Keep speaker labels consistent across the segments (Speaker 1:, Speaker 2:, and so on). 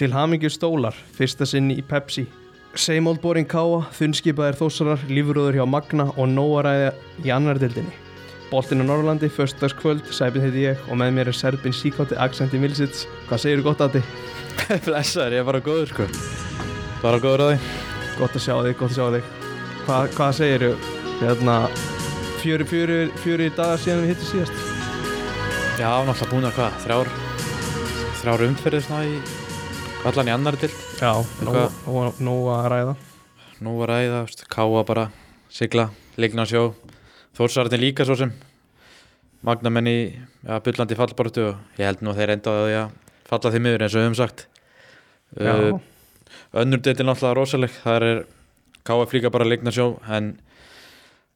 Speaker 1: Til hamingju stólar, fyrsta sinn í Pepsi. Same old boring káa, þunnskipaðir þósarar, lífröður hjá Magna og nóaræða í annar dildinni. Boltinn á Norrlandi, föstudagskvöld, sæpið heiti ég og með mér er Serbin Sikotti Aksenti Milsits. Hvað segirðu gott að þið?
Speaker 2: Blessaður, ég er bara góður sko Bara góður að því
Speaker 1: Gott að sjá þig, gott að sjá þig. Hva, hvað segirðu? Hérna, fjöri, fjöri, fjöri dagar síðan við hittum síðast.
Speaker 2: Já, náttúrulega búin að hvað, þrjár Þrjár umferðir svona í Allan í annar dild
Speaker 1: Já,
Speaker 2: hvað?
Speaker 1: nóg- nóg að ræða.
Speaker 2: Nú var að það, veist, káa bara Sigla, ligna sjó Þórsarðin líka svo sem Magnamenn í ja, bullandi fallbortu og ég held nú að þeir enda að því að falla því miður eins og við höfum sagt
Speaker 1: Já,
Speaker 2: Uh, Önnur deildin náttúrulega rosaleg þar er KF líka bara leikna sjó en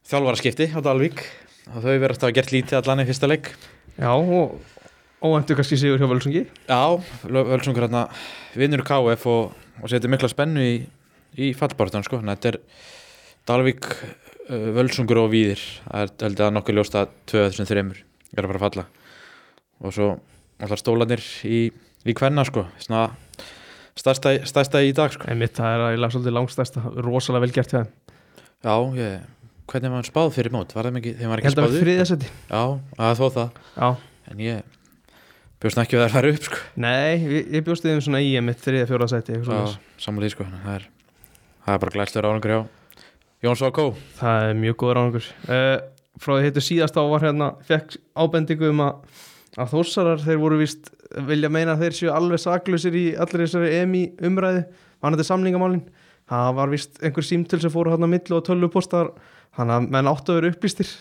Speaker 2: þjálfara skipti á Dalvík og þau verðast að hafa gert lítið allan í fyrsta leik
Speaker 1: já og óæntu kannski sigur hjá Völsungi.
Speaker 2: Já, Völsungur hérna vinnur KF og, og setur mikla spennu í, í fallbartan sko, þannig að þetta er Dalvík, uh, Völsungur og Víðir það er held ég að nokkuð ljóst að tvö af þessum þreymur er að fara að falla og svo allar stólanir í, í kvenna sko, svona stærsta, stærsta í dag sko
Speaker 1: Einmitt, það er eiginlega svolítið langstæsta, rosalega vel gert hjá þeim.
Speaker 2: Já, ég, hvernig var hann spáð fyrir mót? Var það ekki, þeim var
Speaker 1: Ég
Speaker 2: ekki
Speaker 1: held að
Speaker 2: spáð
Speaker 1: vera
Speaker 2: upp?
Speaker 1: þriðja seti.
Speaker 2: Já, að þó það,
Speaker 1: Já,
Speaker 2: en ég bjóst ekki við að það fara upp, sko.
Speaker 1: nei, ég, ég bjóst við þeim svona í einmitt þriðja, fjóra seti. eitthvað
Speaker 2: Já,
Speaker 1: svoleiðis.
Speaker 2: samanlega, sko, þannig að það er, það er bara glæstur árangur hjá Jóns og Kó.
Speaker 1: Það er mjög góður ánangur. Uh, frá því hittu síðast á var hérna, fekk ábendingu um að, að þósarar, þeir voru vist, vilja meina að þeir séu alveg saklausir í allir þessari EMI umræði, hann þetta samningamálin. Það var vist einhver símtöl sem fóru hérna á millu og tölvupostar, hann að menn áttu að vera upplýstir.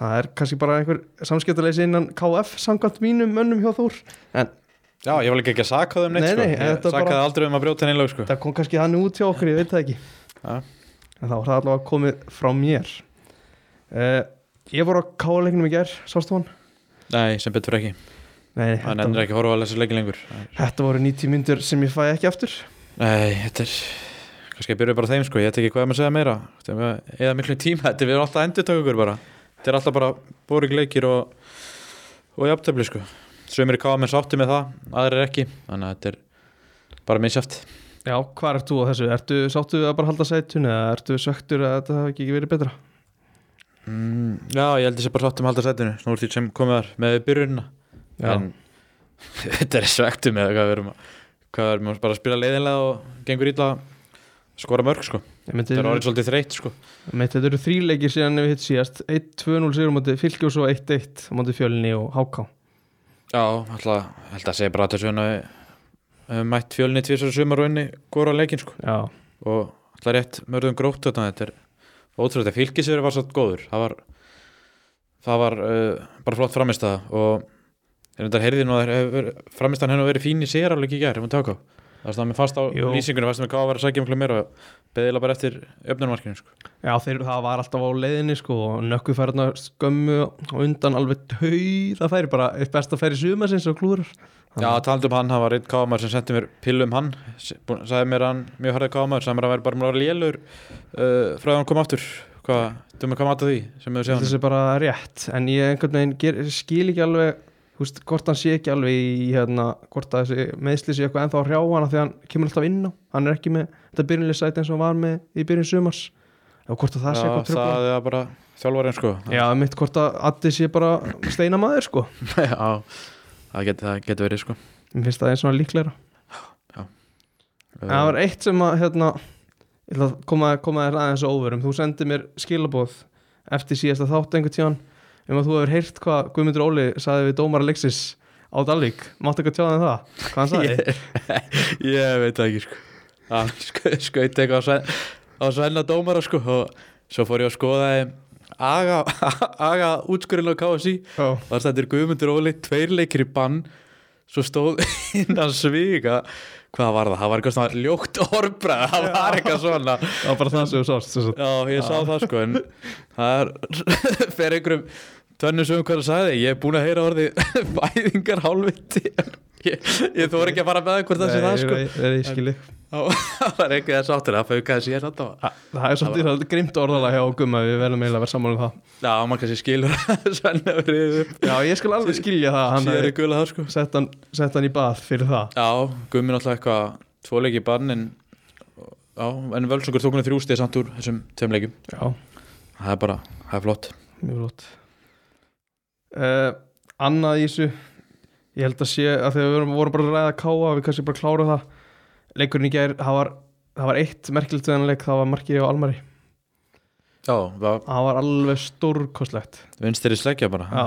Speaker 1: Það er kannski bara einhver samskiptaleysi innan KF samkvæmt mínum mönnum hjá Þór.
Speaker 2: Já, ég var líka ekki að saka þeim neitt,
Speaker 1: Nei,
Speaker 2: sko.
Speaker 1: nei,
Speaker 2: ég
Speaker 1: þetta
Speaker 2: sakaði
Speaker 1: bara-
Speaker 2: aldrei um að brjóta henni lög, sko.
Speaker 1: Það kom kannski þannig út hjá okkur, ég veit það ekki
Speaker 2: Já.
Speaker 1: En þá var það allavega komið frá mér uh, Ég voru á káleiknum í ger, sástu hann?
Speaker 2: Nei, sem betur fyrir ekki.
Speaker 1: Nei,
Speaker 2: Hann
Speaker 1: þetta,
Speaker 2: endur ekki að horfa að lesa leiki lengur.
Speaker 1: þetta voru 90 myndur sem ég fæ ekki aftur
Speaker 2: Nei, þetta er, kannski að byrja bara á þeim, sko. Ég veit ekki hvað maður segja meira. Þetta er með- Eða miklu tíma, þetta er við erum alltaf endur ykkur bara. Þetta er alltaf bara bórik leikir og, og jafntöfli, sko. Sveimir í KM er sátti með það, aðrir ekki. Þannig að þetta er bara misjæft.
Speaker 1: Já, hvað ert þú á þessu? Ertu sáttu að bara halda sætun eða ertu svektur að þetta hafi ekki verið betra?
Speaker 2: Mm, já, ég held þessi bara sátti með halda sætinu. Nú er því sem komið þar með byrjunina. En þetta er svektu með hvað við erum að, hvað við erum að bara að spila leiðinlega og gengur ítla að skora mörg, sko.
Speaker 1: ég myndi,
Speaker 2: Þetta er orðið svolítið þreytt, sko.
Speaker 1: mitt, þetta eru þríleikir síðan við hitt síðast 1-2-0 sigur á móti fylgi og svo 1-1 á móti fjölni og háká
Speaker 2: Já, alltaf, held að segja bara að þessu hann að við mætt fjölni tvisar sumar og inni góra leikinn sko
Speaker 1: Já,
Speaker 2: og alltaf rétt mörgum grótt þetta þetta er ótrúlega þetta fylgisverið var satt góður það var, það var uh, bara flott framist og þetta heyrði nú að framist hann hefur verið fín í sér alveg í gær ef hún tók á það var mér fast á
Speaker 1: Jú.
Speaker 2: lýsingunum fast með hvað var að sækja miklu meira og beðilega bara eftir öfnunmarkinu sko.
Speaker 1: Já, þeir, það var alltaf á leiðinni sko og nökku færðna skömmu og undan alveg tauð að færi bara eitt besta færi sumasins og klúrar
Speaker 2: Já, talandi um hann, það var einn kámaður sem sendi mér pillu um hann, s- búinn- sagði mér að hann mjög harðið kámaður, sagði mér að hann væri bara mjög lélur uh, frá að hann kom aftur hvað, þú með hvað matað því sem við séum
Speaker 1: Þetta er bara rétt en ég einhvern veginn ger, skil ekki alveg húst, hvort hann sé ekki alveg í hérna, hvort að þessi meðsli sé eitthvað ennþá að hrjá hana því að hann kemur alltaf inn á hann er ekki með þetta byrjunlega sæti eins og hann var með í byrjun sumars og hvort að það sé
Speaker 2: Já,
Speaker 1: eitthvað tröfla
Speaker 2: það er bara þjálfarinn sko
Speaker 1: Já, mitt hvort að Addi sé bara steinamaður sko
Speaker 2: Já, það getur það getur verið sko
Speaker 1: Mér finnst það eins og líklegra En
Speaker 2: Eh.
Speaker 1: það var eitt sem að hérna, ég ætla að koma, koma þér aðeins á óverum þú sendið mér skilaboð eftir síðasta þátt einhvern tíðan um að þú hefur heyrt hvað Guðmundur Óli saði við dómar Alexis á Dalvík máttu ekki að tjáða þeim um það, hvað hann saði
Speaker 2: Ég, ég veit það ekki sko Hann sk- skaut eitthvað á svæ- á svenna dómara sko og svo fór ég að skoða þeim aga, aga útskurinn á KSI
Speaker 1: yeah.
Speaker 2: Það stendur Guðmundur Óli tveir leikir í bann svo stóð innan sviga hvað var það, það var eitthvað svona ljótt orbrað, það var eitthvað svona
Speaker 1: það var bara það sem þú sást sem sagt.
Speaker 2: já, ég sá það sko en það er fer einhverjum tönnu sögum hvað það sagði, ég er búin að heyra orði fæðingar hálfviti ég þú voru ekki að fara með einhver þessi það
Speaker 1: Nei,
Speaker 2: sko
Speaker 1: ég- ég- ég skil þig.
Speaker 2: það var einhver þess áttur að fauka þessi ég samt á
Speaker 1: það er svolítið það grimt orðalega hjá gumma við verðum eiginlega að vera sammála um það
Speaker 2: já, mann kannski skilur svenni að verið upp
Speaker 1: já ég skal alveg skilja það að hann
Speaker 2: síðar
Speaker 1: hafi
Speaker 2: í gula það sko
Speaker 1: sett hann, sett hann í bað fyrir það
Speaker 2: já, gummin alltaf eitthvað tvo leiki í bann en já, en völsungur tók hann þrjú stið samt úr þessum tveim leikum
Speaker 1: já
Speaker 2: það er bara, það er flott
Speaker 1: mjög flott uh, annað í þessu ég held að sé að þegar við vorum, vorum bara að ræða káa við kannski bara klára það leikurinn í gær, það var, það var eitt merkilegt viðanleik, það var markið á Almari
Speaker 2: já, það
Speaker 1: það var alveg stórkostlegt
Speaker 2: vinstri sleggja bara
Speaker 1: já,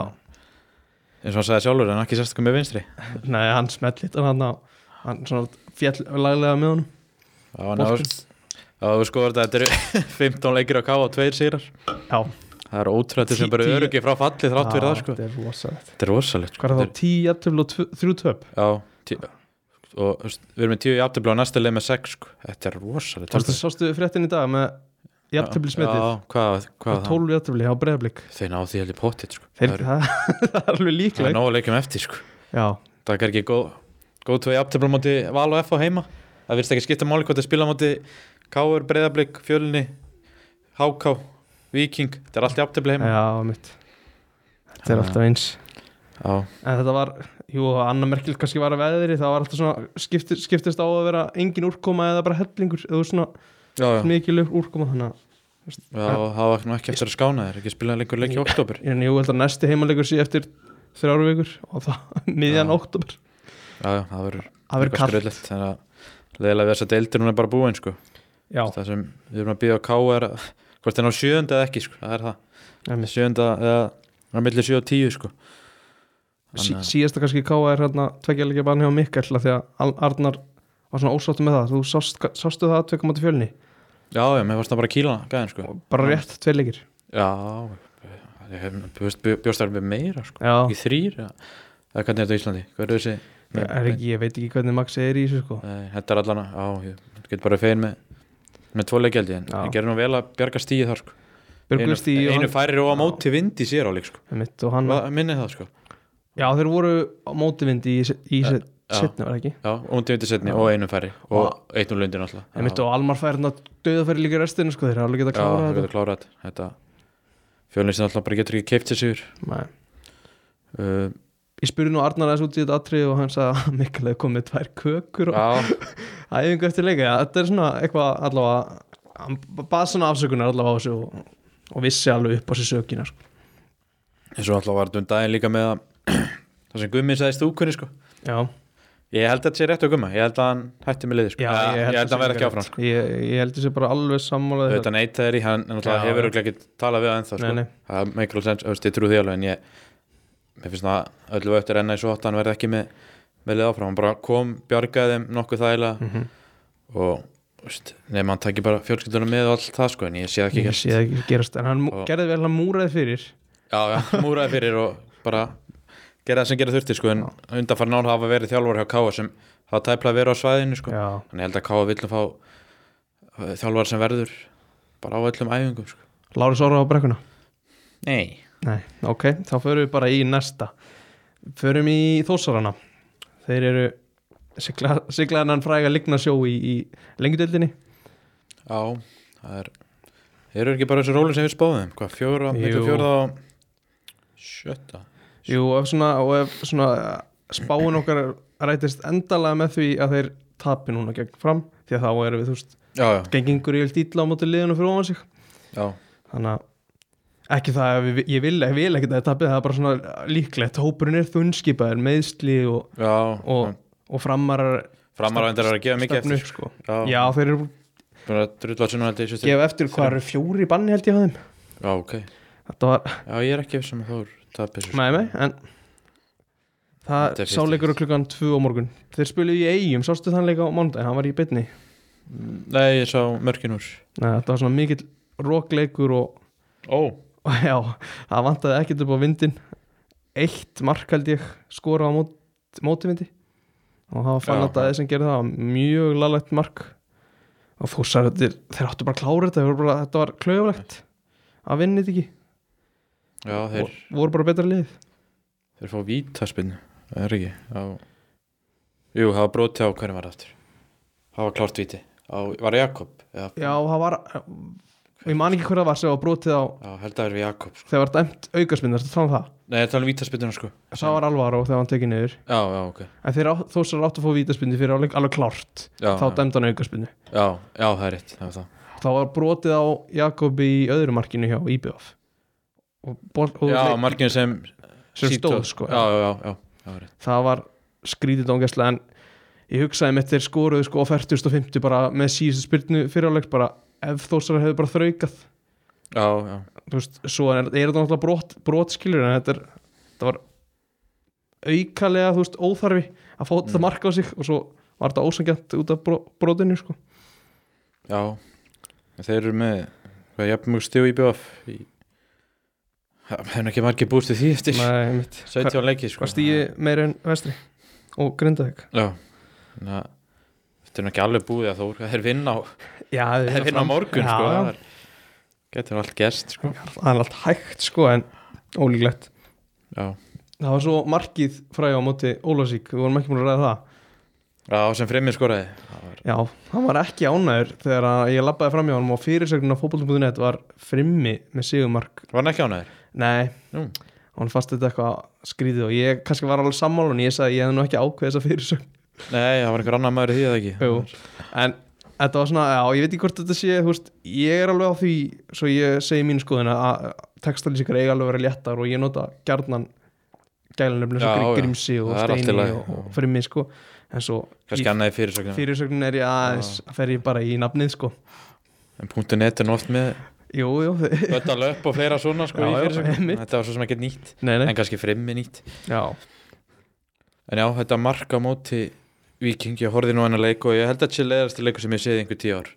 Speaker 2: eins og hann sagði sjálfur en ekki sérstaklega með vinstri
Speaker 1: nei, hann smelt litur hann á hann svona fjall laglega með honum
Speaker 2: já, en það var Já, þú skoður þetta, þetta eru 15 leikir að káa og tveir sigrar.
Speaker 1: já,
Speaker 2: Það er ótrúlega sem
Speaker 1: Tí-
Speaker 2: bara
Speaker 1: tí-
Speaker 2: öryggi frá falli þrátt fyrir það, sko.
Speaker 1: þetta er rosalegt
Speaker 2: Þetta er rosalegt. sko.
Speaker 1: hvað er þá, 10 jafntöfl og tvö- þrjú töp
Speaker 2: Já, tí, og þú veist, við erum með 10 í aftabla og næsta leið með 6, sko. Þetta er rosalegt.
Speaker 1: Sástu- sástu fréttin í dag með jafntöfl smetið
Speaker 2: Já, hvað,
Speaker 1: og
Speaker 2: hvað það?
Speaker 1: 12 jafntöfli á breyðablík
Speaker 2: Þeir náðu því heldur pottit, sko.
Speaker 1: Þeir,
Speaker 2: það er,
Speaker 1: það, það er alveg
Speaker 2: það er
Speaker 1: líklegt
Speaker 2: nóg að leikjum eftir, sko.
Speaker 1: Já,
Speaker 2: Það er ekki góð, góð tvei aftabla á móti Val og F á heima. Það virðist ekki skipta máli hvort að spila á móti Káur, Breiðablík, Fjölni, Háká, Víking. Þetta er allt í aftabla heima.
Speaker 1: já, mitt Þetta er
Speaker 2: Já.
Speaker 1: alltaf eins
Speaker 2: Já,
Speaker 1: En þetta var, jú, annar merkilt kannski var að veðri Það var alltaf svona, skipti, skiptist á að vera engin úrkoma eða bara hellingur eða svona
Speaker 2: já, já.
Speaker 1: mikil úrkoma Þannig
Speaker 2: Já, það var nú ekki eftir að skána þér, ekki spila lengur leik í oktober
Speaker 1: að en ég held að næsti heimalegur sé eftir þrjáru vikur og það miðjan
Speaker 2: Já.
Speaker 1: oktober
Speaker 2: Já, já, það verður
Speaker 1: Það verður kall
Speaker 2: skröðlegt Þannig að leðilega við þess að deildir núna er bara búin sko.
Speaker 1: Já,
Speaker 2: Það sem við erum að býða á K er að- hvort það er á sjöunda eða ekki sko. Það er það,
Speaker 1: Einmitt.
Speaker 2: sjöunda eða á milli sjö og tíu sko.
Speaker 1: sí,
Speaker 2: Þannig að-
Speaker 1: síðasta kannski káa er hérna tveggjarleikja bann hjá Mikkel af Því að Al- Arnar var svona ósáttu með það Þú sást, sástu það að tvekka mátu fjölni
Speaker 2: Já, já, mér varst það bara að kýla gæðin sko.
Speaker 1: Bara rétt tveir leikir
Speaker 2: Já, ég hef bjóst, bjóst það með meira sko.
Speaker 1: Já,
Speaker 2: Ekki þrýr, eða eða hvernig er þetta á Íslandi? Hver er þessi?
Speaker 1: Nei, er ekki, ég veit ekki hvernig Maxi er í þessu sko
Speaker 2: Nei, þetta er allan að, já, ég get bara fegin með, með tvo leikjaldi en
Speaker 1: Já.
Speaker 2: ég gerði nú vel að bjarga stíði þar sko. einu,
Speaker 1: Björgust í og
Speaker 2: einu
Speaker 1: hann,
Speaker 2: færir og á móti vind í sér áleik sko.
Speaker 1: mitt, og hann
Speaker 2: Va- minni það sko
Speaker 1: Já þeir voru á mótivindi í, í ja,
Speaker 2: já.
Speaker 1: setni var það ekki
Speaker 2: já, og móti vind í setni
Speaker 1: Já.
Speaker 2: og einu færi og eitt nú lundin alltaf
Speaker 1: ja. mitt, og Almar fær hérna döðafæri líka í restinu sko þeir eru alveg geta að klára
Speaker 2: þetta klára þetta, þetta fjölinsin alltaf bara getur ekki keift sér sigur
Speaker 1: þetta Nei.
Speaker 2: uh,
Speaker 1: Ég spurði nú Arnar aðeins út í þetta atrið og hann sagði að Mikkel hefði komið tvær kökur og
Speaker 2: já,
Speaker 1: æfingu eftir leika ja, þetta er svona eitthvað allavega hann bað svona afsökunar allavega á þessu og, og vissi alveg upp á sér sökina sko.
Speaker 2: eins og alltaf var þetta um daginn líka með að það sem Gummi sagði stúkunni sko
Speaker 1: Já,
Speaker 2: ég held að þetta sé rétt á Gumma, ég held að hann hætti með liði sko, Eh, ég held að hann verði ekki áfram sko.
Speaker 1: sko. ég, ég held þessi bara alveg sammálaði
Speaker 2: þetta neyta er í, hann en alltaf
Speaker 1: Já,
Speaker 2: hefur
Speaker 1: já.
Speaker 2: örugglega ekki talað við hann það
Speaker 1: Nei,
Speaker 2: sko,
Speaker 1: nei.
Speaker 2: það er mikil sens, öfst, ég trú því alveg en ég, mér finnst það öllu eftir enna í svo átt að hann verði ekki með, með lið áfram, hann bara kom, bjargaði þeim nokkuð þægilega
Speaker 1: Mhm.
Speaker 2: og veist, nefnum hann tæki bara fjölskyldunum með og allt það sko, en ég sé það ekki
Speaker 1: Ég
Speaker 2: gert.
Speaker 1: sé það ekki gerast En hann mú-
Speaker 2: Og-
Speaker 1: gerði vel að múraði fyrir
Speaker 2: já, já, múraði fyrir og bara gera það sem gera þurfti sko, en undanfarn ár hafa verið þjálfur hjá Káa sem hafa tæplað verið á svæðinu sko,
Speaker 1: Já,
Speaker 2: en ég held að Káa villum fá eh, þjálfar sem verður bara á öllum æfingum sko.
Speaker 1: Lárus Ára á brekkuna
Speaker 2: Nei,
Speaker 1: Nei, ok, þá förum við bara í næsta Förum í Þórsarana Þeir eru sigla, siglaðan fræga ligna sjó í, í lengjudeldinni
Speaker 2: Já, það er Þeir eru ekki bara þessu róli sem við spáðum Hvað, fjóra,
Speaker 1: Jú.
Speaker 2: miklu fjóra og Sjötta
Speaker 1: Jú, og ef svona, og ef svona eh, spáin okkar rætist endalega með því að þeir tapi núna gegn fram því að þá erum við, þú veist,
Speaker 2: Já, já,
Speaker 1: gengingur í öll dýtla á móti liðinu fyrir ofan sig
Speaker 2: já,
Speaker 1: þannig að ekki það að við- ég vil, ég vil ekki það tapið, það er bara svona líklegt hópurinn er þunnskipaður, meðsli og,
Speaker 2: já
Speaker 1: og, og framarar
Speaker 2: Framar á endur að gefa mikið
Speaker 1: stefnu
Speaker 2: eftir
Speaker 1: upp, sko.
Speaker 2: Já,
Speaker 1: Já, þeir eru
Speaker 2: búin að drulla þessu nú held ég sjösti
Speaker 1: gefa eftir hvað eru fjóri banni held ég á þeim
Speaker 2: Já, ok
Speaker 1: þetta var,
Speaker 2: Já, ég er ekki viss um að það er tapis
Speaker 1: mei mei en það
Speaker 2: Þetta er fyrst
Speaker 1: sáleikur klukkan 2 á morgun þeir spilu í eigum, sástu þann leik á mándag hann var í bytni,
Speaker 2: Nei, ég sá mörkin úr
Speaker 1: þetta var svona mikill rókleikur og,
Speaker 2: Ó,
Speaker 1: og já, það vantaði ekkert upp á vindin eitt mark held ég skora á mót, mótivindi og það var fann
Speaker 2: Já,
Speaker 1: að það sem gerði það var mjög lalegt mark og þú sagði þeir, þeir áttu bara að klára þetta, þeir voru bara, þetta var klauflegt að vinna þetta ekki,
Speaker 2: já, þeir,
Speaker 1: voru bara betra lið
Speaker 2: þeir fá vítaspinn Það er ekki Já, Jú, það var broti á hvernig var það aftur Það var klárt viti á, Var það Jakob? Já,
Speaker 1: já, það var og ég man ekki hver það var sem var brotið á
Speaker 2: já held að það er við Jakob sko.
Speaker 1: þegar var dæmt aukarsmyndar, það tala um það
Speaker 2: Nei, það er vítaspiluna sko
Speaker 1: það var alvar og þegar hann tekið niður
Speaker 2: Já, já, ok
Speaker 1: en þeir á- þósar áttu að fá vítaspindu fyrir alveg, alveg klárt
Speaker 2: Já,
Speaker 1: þá
Speaker 2: já,
Speaker 1: dæmd hann aukarsmyndu
Speaker 2: já, já, það er rétt það var það.
Speaker 1: þá var brotið á Jakobi í öðru markinu hjá IBF og, bol- og
Speaker 2: Já,
Speaker 1: leik-
Speaker 2: markinu sem
Speaker 1: sem
Speaker 2: Sito.
Speaker 1: stóð sko
Speaker 2: Já, já, já, já, já, það er rétt
Speaker 1: það var skrítið dóngjastlega en ég hugsaði með þeir skoruðu sko á 40.50 bara með síðustu spyrnu fyrirhálegs bara ef þósar hefur bara þraukað
Speaker 2: Já, já,
Speaker 1: þú veist, svo er, er þetta náttúrulega brot, brotskilur en þetta, er, þetta var aukalega, þú veist, óþarfi að fá þetta
Speaker 2: Mm.
Speaker 1: mark á sig og svo var þetta ósangjant út af bro, brotinu sko.
Speaker 2: já En Þeir eru með Hvað, jafnum mjög stíu í BF í... Það hefur ekki margir búist við því eftir
Speaker 1: Nei, mitt.
Speaker 2: 17 leiki sko
Speaker 1: Hvað stíði meira en vestri og grindaðeg
Speaker 2: Já, þannig að Þetta er nú ekki alveg búið að þó Það er vinna á,
Speaker 1: Já,
Speaker 2: það er vinna á morgun
Speaker 1: já,
Speaker 2: sko
Speaker 1: já.
Speaker 2: það er- Getur allt gerst sko
Speaker 1: það er allt hægt sko en ólíklegt
Speaker 2: Já,
Speaker 1: það var svo markið fræði á móti Ólásík, við vorum ekki múin að ræða það
Speaker 2: já sem fremið skoraði Það var-
Speaker 1: já, hann var ekki ánæður þegar að ég labbaði fram hjá hann og fyrirsögnin á fótboltum.net var frimmi með sigumark
Speaker 2: Var hann ekki ánæður?
Speaker 1: nei,
Speaker 2: Nú.
Speaker 1: hann fannst þetta eitthvað skrítið og ég kannski var alveg sammála en ég sagði ég hefði nú ekki ákveð þessa fyrirsögn
Speaker 2: Nei, það var einhver annar maður í því eða ekki
Speaker 1: Jú. en þetta var svona, já, ég veit ekki hvort þetta sé þú veist, ég er alveg á því svo ég segi mín skoðin að textalýsingar eiga alveg að vera léttar og ég nota gjarnan gælunöfnum
Speaker 2: Já,
Speaker 1: sem
Speaker 2: já.
Speaker 1: grímsi og
Speaker 2: Það er allt í
Speaker 1: steini
Speaker 2: lagi,
Speaker 1: og, og
Speaker 2: já.
Speaker 1: frimmi sko, en svo
Speaker 2: Kannski annað í fyrirsögnum
Speaker 1: fyrirsögnin er ég aðeins fer ég bara í nafnið sko
Speaker 2: En punktu net er nú oft með
Speaker 1: jú, jú, þe-
Speaker 2: Bötta löp og fleira svona sko
Speaker 1: Já,
Speaker 2: í
Speaker 1: já,
Speaker 2: fyrirsögnum
Speaker 1: einmitt.
Speaker 2: Þetta var svo sem ekki nýtt
Speaker 1: nei, nei,
Speaker 2: En kannski fremið nýtt
Speaker 1: já
Speaker 2: En já, þetta marka móti Víking, ég horfði nú á hennar leik og ég held að þetta sé leiðasti leiku sem ég séð í einhver tíu ár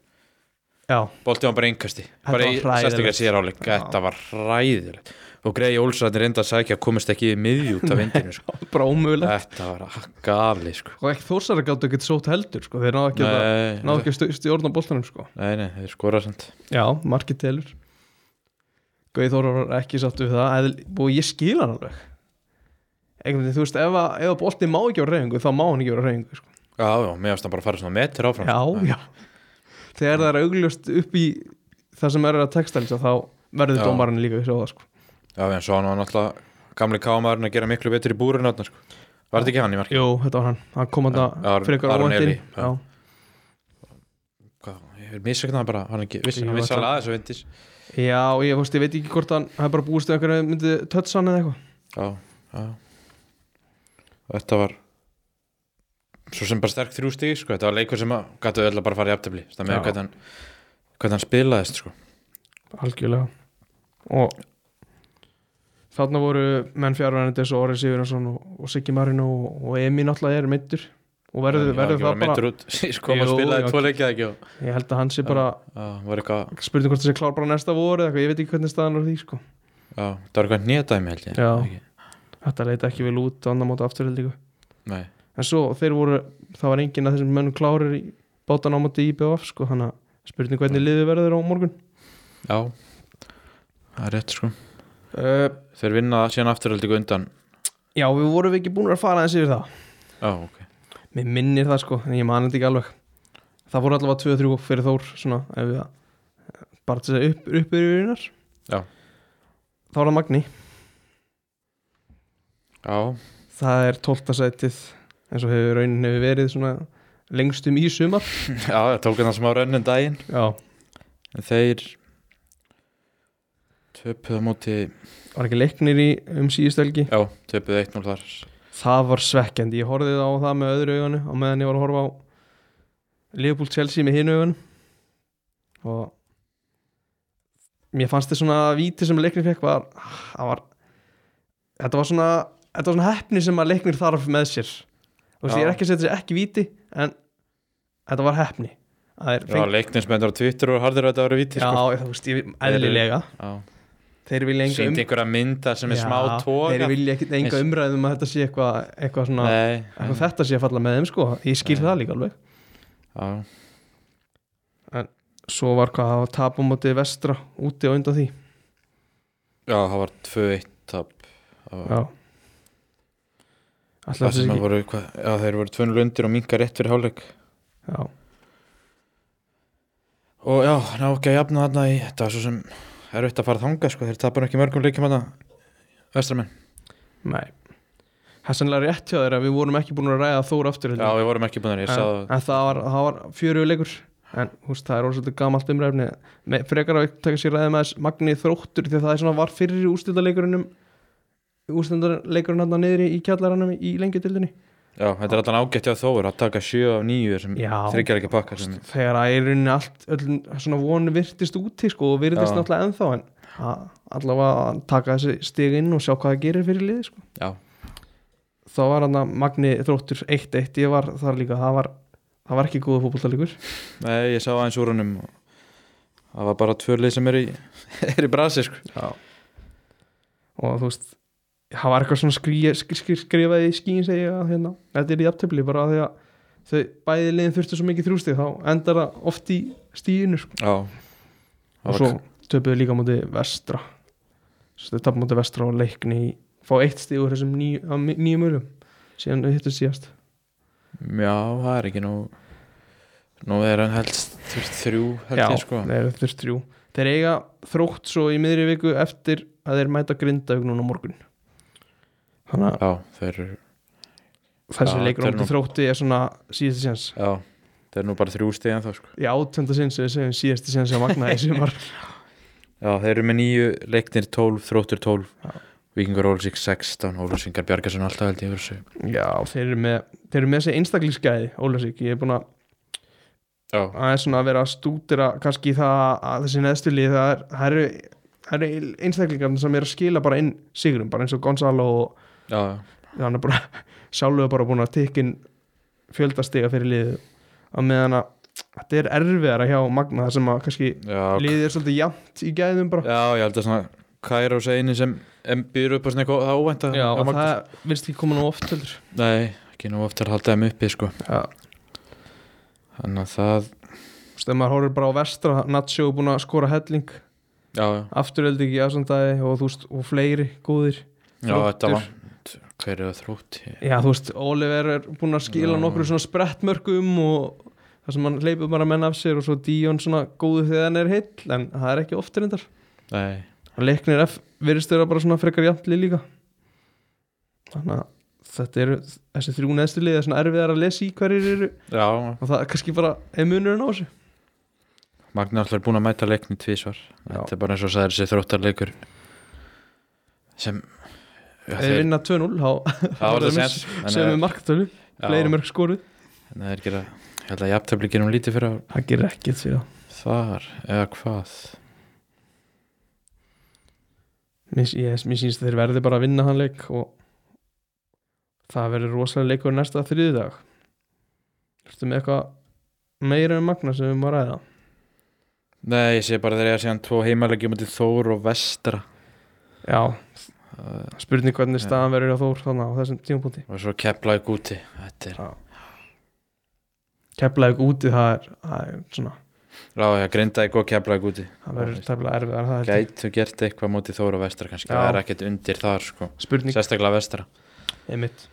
Speaker 1: já,
Speaker 2: Boltið var bara einkasti bara
Speaker 1: var
Speaker 2: í
Speaker 1: hræðilegt.
Speaker 2: sérstaklega sér áleik,
Speaker 1: Já.
Speaker 2: þetta var ræðilegt og Gregi Olsson reynda að sækja komist ekki í miðjút af vindinu sko.
Speaker 1: bara ómögulegt
Speaker 2: þetta var gafli sko.
Speaker 1: og ekki þórsara gáttu ekkert sót heldur sko, þeir náðu ekki að
Speaker 2: nei,
Speaker 1: náðu ekki að stu- stjórna bóltanum sko
Speaker 2: nei, nei, þeir skora samt
Speaker 1: já, markið telur Gauði Þóra var ekki satt við það eðl, og ég skil hann alveg einhvern veginn, þú veist, ef að, ef að bóltin má ekki á reyfingu þá má hann ekki á reyfingu sko.
Speaker 2: já, já, mér varst það bara að fara svona metr áfram
Speaker 1: já,
Speaker 2: sko.
Speaker 1: já þegar það er augljóst upp í það sem er að textalisa þá verður
Speaker 2: Já.
Speaker 1: dómarinn líka við sjóða sko.
Speaker 2: já, en svo hann var náttúrulega gamli kámaðurinn að gera miklu betur í búrinu þarna, sko. var þetta ekki hann í marki?
Speaker 1: jú, þetta var hann, hann kom hann
Speaker 2: Já, Aron-
Speaker 1: frekar
Speaker 2: Aron
Speaker 1: óvænt
Speaker 2: Elí,
Speaker 1: inn.
Speaker 2: já.
Speaker 1: já,
Speaker 2: Hvað, ég vil misögna það bara, hann ekki vissi,
Speaker 1: Jú,
Speaker 2: hann vissi
Speaker 1: hann-
Speaker 2: alveg aðeins og vindis
Speaker 1: já og ég, fórst, ég veit ekki hvort hann hann bara búist við einhverju myndi tötsan eða eitthvað
Speaker 2: Já, já Og Þetta var svo sem bara sterk þrjú stig sko. þetta var leikur sem að gætu öll að bara fara í aftabli það með
Speaker 1: Já.
Speaker 2: hvernig hann, hvernig hann spilaðist sko.
Speaker 1: algjörlega og þarna voru menn fjárvænendis og Orri Sigurðarsson og, og Siggi Marino og, og Emi náttúrulega er meittur og verður,
Speaker 2: Hann var
Speaker 1: verður
Speaker 2: ekki
Speaker 1: það bara
Speaker 2: bara meiddur út, síðan kom að
Speaker 1: Jú,
Speaker 2: spilaði
Speaker 1: já.
Speaker 2: tvo leikja ekki og
Speaker 1: ég held að hann sé bara
Speaker 2: það var eitthvað,
Speaker 1: spurning hvort það sé klár bara næsta voru eða eitthvað, ég veit ekki hvernig staðan er á því sko
Speaker 2: já, það var eitthvað nýjadæmi held ég
Speaker 1: Já.
Speaker 2: Ekki?
Speaker 1: þetta leita ekki vel út á annan móta afturhaldíku
Speaker 2: Nei,
Speaker 1: en svo þeir voru, það var enginn að þessum mönnum klárir í bátan á móti IBF sko þannig að spurning hvernig liðið verður á morgun
Speaker 2: já það er rétt sko
Speaker 1: uh,
Speaker 2: þeir vinna síðan afturhaldi undan
Speaker 1: já við vorum ekki búin að fara aðeins yfir það
Speaker 2: já, ok,
Speaker 1: Mér minnir það sko, en ég man þetta ekki alveg Það voru allavega 2-3 fyrir Þór svona, ef við það bara til þess að upp, upp yfir yfirinnar
Speaker 2: Já.
Speaker 1: Þá er það Magni
Speaker 2: já,
Speaker 1: Það er 12. sætið eins og hefur raunin hefur verið svona lengstum í sumar
Speaker 2: já, það tók hann smá rönnum daginn
Speaker 1: Já,
Speaker 2: En þeir töpuðu á móti
Speaker 1: var ekki leiknir í um síðust helgi
Speaker 2: Já, töpuðu 1-0 þar
Speaker 1: Það var svekkjandi, ég horfði á það með öðru auganu og meðan ég var að horfa á Liverpool Chelsea með hinu augunum og mér fannst þið svona víti sem leiknir fekk var, það var þetta var svona þetta var svona heppni sem að leiknir þarf með sér og þess að ég
Speaker 2: Já.
Speaker 1: er ekki að setja sér ekki víti en þetta var heppni það er
Speaker 2: Já,
Speaker 1: fengt,
Speaker 2: leiknismennar á Twitter og harður að þetta voru víti
Speaker 1: já,
Speaker 2: sko.
Speaker 1: ég- þú veist, ég, eðlilega
Speaker 2: Já,
Speaker 1: þeir vilja enga um-
Speaker 2: síndi einhverja mynda sem er
Speaker 1: Já,
Speaker 2: smá tóka
Speaker 1: þeir vilja ekki enga umræðum að þetta sé eitthvað eitthvað svona
Speaker 2: Nei,
Speaker 1: eitthvað þetta sé að falla með þeim sko ég skil
Speaker 2: Nei.
Speaker 1: það líka alveg
Speaker 2: já,
Speaker 1: svo var hvað að tapa á móti vestra úti og undan því
Speaker 2: já, það var 2-1 tap Já,
Speaker 1: já Alltaf
Speaker 2: það
Speaker 1: þess
Speaker 2: sem
Speaker 1: ekki
Speaker 2: að voru, hvað, já, þeir voru tvönu lundir og minga rétt fyrir hálfleik
Speaker 1: Já,
Speaker 2: og já, ná ekki að jafna þarna í þetta var svo sem er veitt að fara þanga sko, þeir tapar ekki mörgum leikjum þarna vestramenn,
Speaker 1: nei Það er sannlega rétt hjá þeirra, við vorum ekki búin að ræða Þór aftur held
Speaker 2: já,
Speaker 1: ég.
Speaker 2: við vorum ekki búin að ég
Speaker 1: en,
Speaker 2: sagði
Speaker 1: en það var, það var fjörugur leikur en húst, það er orðsvöldu gamalt umræfni Me, frekar að taka sér ræði með þess Magni Þróttur því að það er svona var fyrir úrstildaleikurinnum úrstildalekurinn hann niður í kjallaranum í lengjutildinni
Speaker 2: já, þetta er alltaf ágætt hjá þóður að taka 7 af 9 sem
Speaker 1: Já.
Speaker 2: þryggjarleika pakka sem,
Speaker 1: þegar að er rauninni allt öll, svona von virtist úti sko og virtist
Speaker 2: Já.
Speaker 1: náttúrulega ennþá en að- allavega að taka þessi stig inn og sjá hvað það gerir fyrir liði sko
Speaker 2: já,
Speaker 1: þá var hann að Magni Þróttur 1-1 ég var þar líka, það var, það var ekki góða fótboltalegur
Speaker 2: nei, ég sá aðeins úr honum og það var bara tvö lið sem er í, er í brasi sko.
Speaker 1: Já. og þú veist það var eitthvað svona skrí, skrí, skrí, skrifaði í skín segi ég að hérna, þetta er í aftöfli bara af því að þau bæði liðin þurftu svo mikið þrjústið þá endar það oft í stíðinu sko.
Speaker 2: já,
Speaker 1: og
Speaker 2: Það var
Speaker 1: svo töpuðu líka múti vestra Svo þau tapum múti vestra og leikni í, fá eitt stíð úr þessum níu, á mi- níu mörgum síðan þau hittu síðast
Speaker 2: já, það er ekki nú nú er hann helst þur- þrjú, held
Speaker 1: Já,
Speaker 2: ég sko
Speaker 1: þeir eru þurft þrjú þeir eiga þrótt svo í miðri viku eftir að þeir mæta grinda núna á morgun þannig að
Speaker 2: já, þeir eru
Speaker 1: þessi
Speaker 2: Já,
Speaker 1: leikur á
Speaker 2: þetta er
Speaker 1: móti þrótti er svona síðasti séns
Speaker 2: Já, það er nú bara þrjú stegið þá sko.
Speaker 1: í átjönda sinn sem við segjum síðasti séns sem magnaði sem var
Speaker 2: Já, þeir eru með nýju leiknir 12, þróttur 12
Speaker 1: Já.
Speaker 2: Víkingur Ólsík 16, Ólfsvingar Bjargarsson alltaf held ég verið sig
Speaker 1: já, þeir eru með þeir eru með þessi einstaklingsgæði, Ólafsvík ég er búin að
Speaker 2: Já,
Speaker 1: aðeins svona að vera að stúdira kannski það að þessi neðstuli það er, það eru, það eru einstaklingarnir sem eru að skila bara inn sigurum, bara eins og Gonzalo og
Speaker 2: já,
Speaker 1: hann er bara sjálfur bara búin að tekinn fjöldastiga fyrir liðið að meðan að þetta er erfiðara hjá Magna þar sem að kannski
Speaker 2: já,
Speaker 1: liðið er svolítið jafnt í gæðum bara
Speaker 2: já ég held að svona Kairos eini sem em, býður upp á svona eitthvað ávænta
Speaker 1: Já,
Speaker 2: Já,
Speaker 1: og
Speaker 2: Magnús.
Speaker 1: það virðist ekki koma nú oft heldur
Speaker 2: Nei, ekki nú ofta að halda þeim uppi sko.
Speaker 1: Já,
Speaker 2: Þannig að það,
Speaker 1: þú veist, ef maður horfir bara á vestra Natsjó er búin að skora helling
Speaker 2: já, já,
Speaker 1: afturöldi ekki aðsandæði og þú veist, og fleiri góðir
Speaker 2: já þetta
Speaker 1: Þróttur.
Speaker 2: var Hver er það þrótt?
Speaker 1: Já, þú veist, Oliver er búin að skila
Speaker 2: Já.
Speaker 1: nokkru svona sprettmörkum og það sem hann leipur bara menn af sér og svo Dion svona góðu þegar hann er heill en það er ekki oftir endar
Speaker 2: Nei,
Speaker 1: og leiknir F virðist vera bara svona frekar jafnli líka þannig að þetta eru þessi þrjú neðstu liðið er svona erfiðar að lesa í hverjir eru
Speaker 2: já,
Speaker 1: og það er kannski bara er munurinn á þessu
Speaker 2: Magna alltaf er búin að mæta leikni tvísvar Þetta er bara eins og sagði þessi þróttarleikur sem Já,
Speaker 1: eða vinna 2-0 þá
Speaker 2: Það var
Speaker 1: Það
Speaker 2: það
Speaker 1: er
Speaker 2: eh, sens
Speaker 1: sem við marktölu, fleiri mörg skoruð
Speaker 2: Það er gera, ég held að jafntöfli gerum lítið fyrir á
Speaker 1: það gerir ekkert fyrir það
Speaker 2: þar eða hvað
Speaker 1: mér, ég, mér sýnst þeir verði bara að vinna hann leik og það verður rosalega leikur næsta þriðdag Ertu með eitthvað meira um magna sem við má ræða
Speaker 2: Nei, ég sé bara þegar ég að sé hann tvo heimalegi mútið Þór og Vestra
Speaker 1: já,
Speaker 2: Það
Speaker 1: Eh, spurning hvernig
Speaker 2: Já.
Speaker 1: staðan verður á Þór þannig á þessum tímapunkti
Speaker 2: var svo keplaði úti Þetta er,
Speaker 1: Keflavík úti það er, það er svona
Speaker 2: já, ég grindaði góð keplaði úti
Speaker 1: það verður tefnilega erfið en það er
Speaker 2: Gætu gert eitthvað mútið Þór og Vestra kannski,
Speaker 1: Já.
Speaker 2: það er ekkert undir þar sko
Speaker 1: spurning
Speaker 2: Sérstaklega Vestra
Speaker 1: einmitt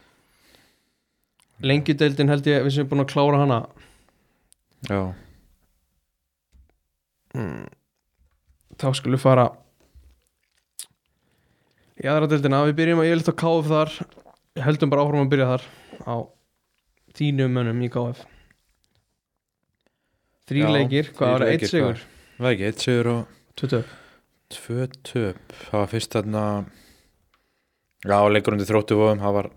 Speaker 1: lengjudeildin held ég við sem erum búin að klára hana
Speaker 2: Já,
Speaker 1: mm. þá skulum við fara í aðra deildina við byrjum að ég á KF þar við heldum bara áfram að byrja þar á tínu mönnum í KF
Speaker 2: Já,
Speaker 1: þrý leikir, hvað
Speaker 2: þrír
Speaker 1: var það? eitt
Speaker 2: leikir,
Speaker 1: sigur,
Speaker 2: það er ekki, eitt sigur og
Speaker 1: tuttu
Speaker 2: Tvö töp, það var fyrst þarna Já, leikur undir þróttu vóðum, það var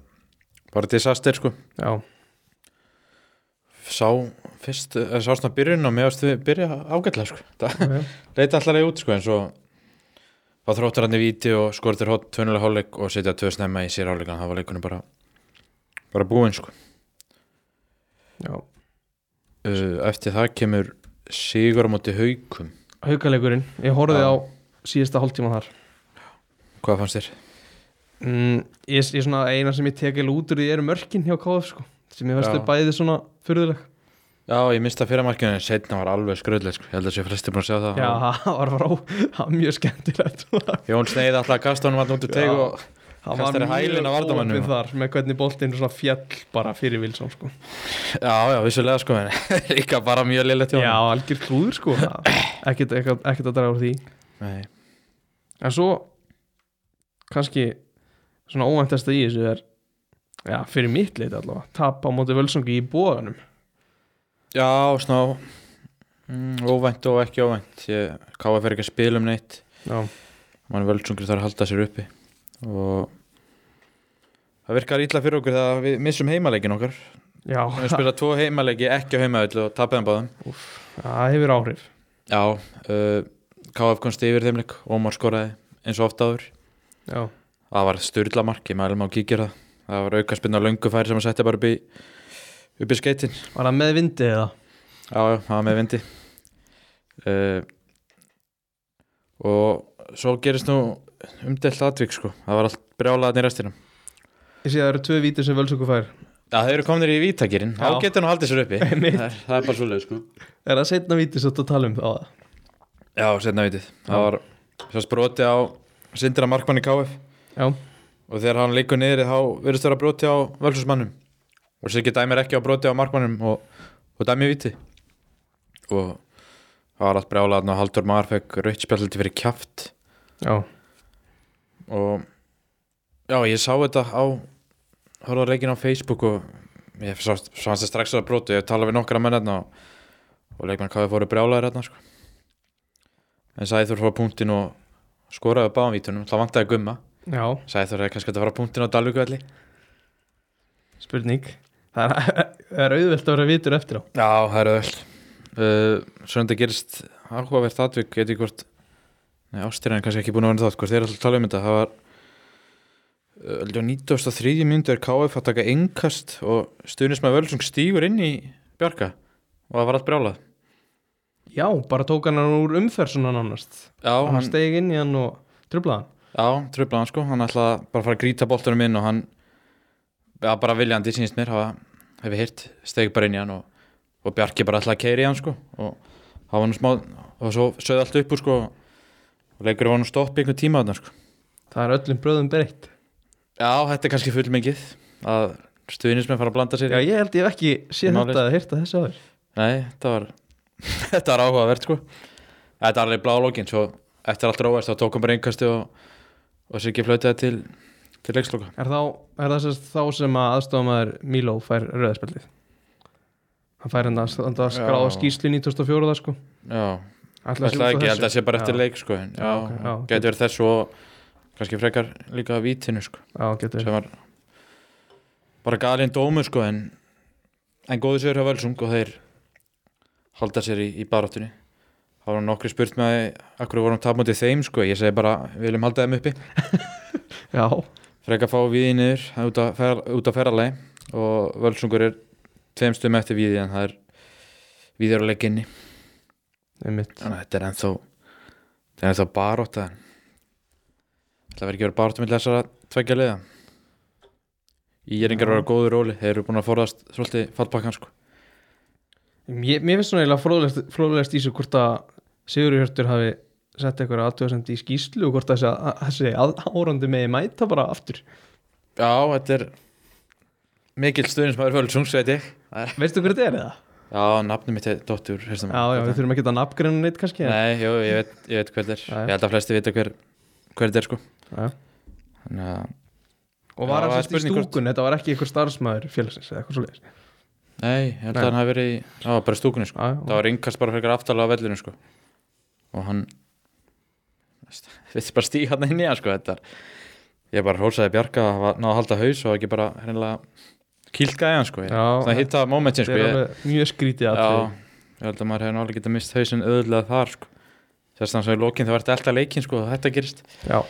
Speaker 2: bara disaster sko
Speaker 1: já,
Speaker 2: Sá fyrst, eh, sá svona byrjun og mér varst við byrja ágætlega sko Það
Speaker 1: já, já.
Speaker 2: leita allar leið út sko en svo var þróttur hann í víti og skortir hótt tvunulega hálfleik og setja tvö snemma í sér hálfleikan það var leikunum bara, bara búinn sko
Speaker 1: já.
Speaker 2: uh, Eftir það kemur sigur á móti haukum
Speaker 1: haukaleikurinn, ég horfði
Speaker 2: Já.
Speaker 1: á síðasta hálftíma þar
Speaker 2: Hvað fannst þér?
Speaker 1: mm, ég, ég svona eina sem ég tekil út úr því eru mörkin hjá KF sko, sem ég
Speaker 2: Já.
Speaker 1: verðstu bæði svona fyrðuleg
Speaker 2: Já, ég mista fyrramarkinu en setna var alveg skröðlega sko, ég held að sér flesti búin að sjá það
Speaker 1: já, það var frá, það var mjög skemmtilegt
Speaker 2: Jón Sneið alltaf að kasta honum hann út úr teg
Speaker 1: Já.
Speaker 2: og
Speaker 1: það
Speaker 2: Kastari
Speaker 1: var
Speaker 2: hælinn
Speaker 1: mjög
Speaker 2: að varnarmanninum.
Speaker 1: opið þar með hvernig boltinn svona fjall bara fyrir Wilson sko.
Speaker 2: Já, já, vissulega sko en Líka bara mjög liðlega
Speaker 1: já,
Speaker 2: tjóðan
Speaker 1: algjör klúður sko það- ekkert ekkert- ekkert að draga úr því
Speaker 2: Nei,
Speaker 1: en svo kannski svona óvæntasta í þessu er já, fyrir mitt leiti allavega tap á móti völsungi í bóðanum
Speaker 2: Já, sná mm, Óvænt og ekki óvænt Ég káfa fyrir ekki að spila um neitt
Speaker 1: já,
Speaker 2: Man völsungur þarf að halda sér uppi Og Það virkar illa fyrir okkur þegar við missum heimaleikinn okkar
Speaker 1: já
Speaker 2: Við spila tvo heimaleiki ekki á heimavöll og tapaðum báðum
Speaker 1: það hefur áhrif
Speaker 2: Já, uh, KF komst yfir þeimleik Ómar skoraði eins og oft áður
Speaker 1: já,
Speaker 2: Það var styrlamark, ég mælum á kíkjur það Það var auka spilna löngu færi sem að setja bara upp í upp í skeitin
Speaker 1: var það með vindi eða
Speaker 2: Já, já, það var með vindi uh, Og svo gerist nú umdelt aðvík sko Það var allt brjálaðan í restinum
Speaker 1: ég sé að það eru tvö víti sem völsungu fær
Speaker 2: Já, þau eru komnir í vítakirinn,
Speaker 1: Já.
Speaker 2: þá getur nú haldið sér uppi
Speaker 1: Einmitt.
Speaker 2: það er, það er bara svoleið sko
Speaker 1: er það setna víti sem þú ert að tala um á það
Speaker 2: Já, setna vitið Það var svo sproti á Sindra Markmann í KF
Speaker 1: já,
Speaker 2: Og þegar hann líkur niður þá verðist vera broti á völsusmannum Og Siggi dæmir ekki á broti á Markmannum og, og dæmir viti Og það var allt brjálaðan og Haldur Mar fekk rautspjallaldi fyrir kjaft
Speaker 1: já,
Speaker 2: og já, ég sá þetta á horfður leikin á Facebook og ég sá svo hans er strax að brotu, ég talaði við nokkra menn hérna og, og leikmenn KF voru brjálæðir hérna sko. en Sæður fór á punktinn og skoraði á báðanvítunum, það vantaði gumma
Speaker 1: já,
Speaker 2: Sæður hefði kannski átt að fara á punktinn á Dalvíkvelli
Speaker 1: spurning það er, það er auðvelt að vera vítur eftir á
Speaker 2: Já, það eru öll uh, Svo þetta gerist áhugavert atvik Ég veit ekki hvort Nei, ástyrjan er kannski ekki búin að vera þátt Hvort þeir eru alltaf að tala um þetta Það var uh, held ég á 93. myndu er KF að taka engkast og stuðnismæð Völsung stígur inn í Bjarka og það var allt brjálað
Speaker 1: já, bara tók hann hann úr umferðsunan annars
Speaker 2: Já,
Speaker 1: og hann
Speaker 2: hann,
Speaker 1: steg inn í hann og trublaði hann
Speaker 2: já tröflaði hann sko Hann ætlaði bara að fara að grýta boltanum inn og hann Já, bara viljandi sínst mér hafa, hef ég heyrt, steg bara inn í hann og, og Bjarki bara ætlaði að keiri í hann sko og það var nú smá og svo sögði allt upp úr sko og leikur var nú stopp í einhvern tíma þarna sko
Speaker 1: það er öllum bröðum breytt
Speaker 2: Já, þetta er kannski fullmikið að stuðnismenn fara að blanda sér
Speaker 1: já,
Speaker 2: í-
Speaker 1: ég held ég hef ekki séð
Speaker 2: Málið-
Speaker 1: þetta eða hýrta þessu áður
Speaker 2: Nei, þetta var þetta var áhugavert sko Þetta var alveg blá lókin svo eftir allt róvert þá tókum bara einkastu og, og sér ekki flötaði til til leiksloka
Speaker 1: er, þá, er það sérst þá sem að aðstofamæður Milo fær rauðspjaldið hann fær hann að hann að skrá
Speaker 2: Já.
Speaker 1: skýslin í 2004 sko.
Speaker 2: Já,
Speaker 1: Ætli
Speaker 2: það
Speaker 1: sé út
Speaker 2: er ekki,
Speaker 1: frá
Speaker 2: ég held að sé bara
Speaker 1: Já.
Speaker 2: eftir leik sko en,
Speaker 1: Já,
Speaker 2: Já,
Speaker 1: ok, já, ok.
Speaker 2: getur verið þessu og kannski frekar líka vítinu sko
Speaker 1: já, getur
Speaker 2: sem var bara galinn dómu sko en, en góðu sigur hjá Völsung og þeir halda sér í, í baráttunni þá var nokkri spurt með að hverju vorum tapmótið þeim sko, ég segi bara við viljum halda þeim uppi
Speaker 1: já,
Speaker 2: frekar fá viði niður það er út að, fer, út að ferralegi og Völsungur er tveim stum eftir viði en það er viði eru að leggja inni
Speaker 1: einmitt
Speaker 2: þannig að þetta er ennþá þetta er ennþá baróta en það verður ekki verið baróta með þessara tveggja liða Íringar
Speaker 1: Já.
Speaker 2: verður á góðu róli þeir eru búin að forðast svolítið fallpakkan sko.
Speaker 1: Mér, mér finnst svona eiginlega fróðlegast, fróðlegast í þessu hvort að Sigurður Hjörtur hafi sett eitthvað aðtöðasendi í skýslu og hvort að þessi, að, þessi að, árandi megi mæta bara aftur
Speaker 2: já, þetta er mikill stuðnismæður Völsungs veit ég
Speaker 1: Veistu hver þetta er eða?
Speaker 2: já, nafnum mitt er Dóttur já,
Speaker 1: Já, já, við þurfum ekki að nafngreinu neitt kannski en-
Speaker 2: Nei, jú, ég veit, ég veit hver þetta er
Speaker 1: Já, já.
Speaker 2: ég held að flesti vita hver, hver þetta er sko.
Speaker 1: Já.
Speaker 2: þannig að
Speaker 1: Og var
Speaker 2: Já,
Speaker 1: hann
Speaker 2: það er
Speaker 1: sérst í
Speaker 2: spurning
Speaker 1: stúkun,
Speaker 2: hvort-
Speaker 1: þetta var ekki einhver starfsmæður félagsins eða eitthvað svoleiðis
Speaker 2: nei, ég held
Speaker 1: Nei.
Speaker 2: að hann hafi verið í það var bara í stúkunni sko.
Speaker 1: Já, já.
Speaker 2: það var yngast bara fyrir aftalega á vellinu sko. og hann við bara stíg hann inn í hann sko, þetta. ég bara hrósaði Bjarka að hafa náð að halda haus og ekki bara hennilega kýlgaði hann sko. Ég-
Speaker 1: Já,
Speaker 2: það hitta momentin sko.
Speaker 1: Þetta er
Speaker 2: ég,
Speaker 1: alveg mjög skrítið
Speaker 2: já,
Speaker 1: aðtöð
Speaker 2: ég held að maður hefði nálega getað mist hausin öðulega þar sko. þess að hann svo í lokin það var þetta alltaf leikin sko, og þetta gerist
Speaker 1: Já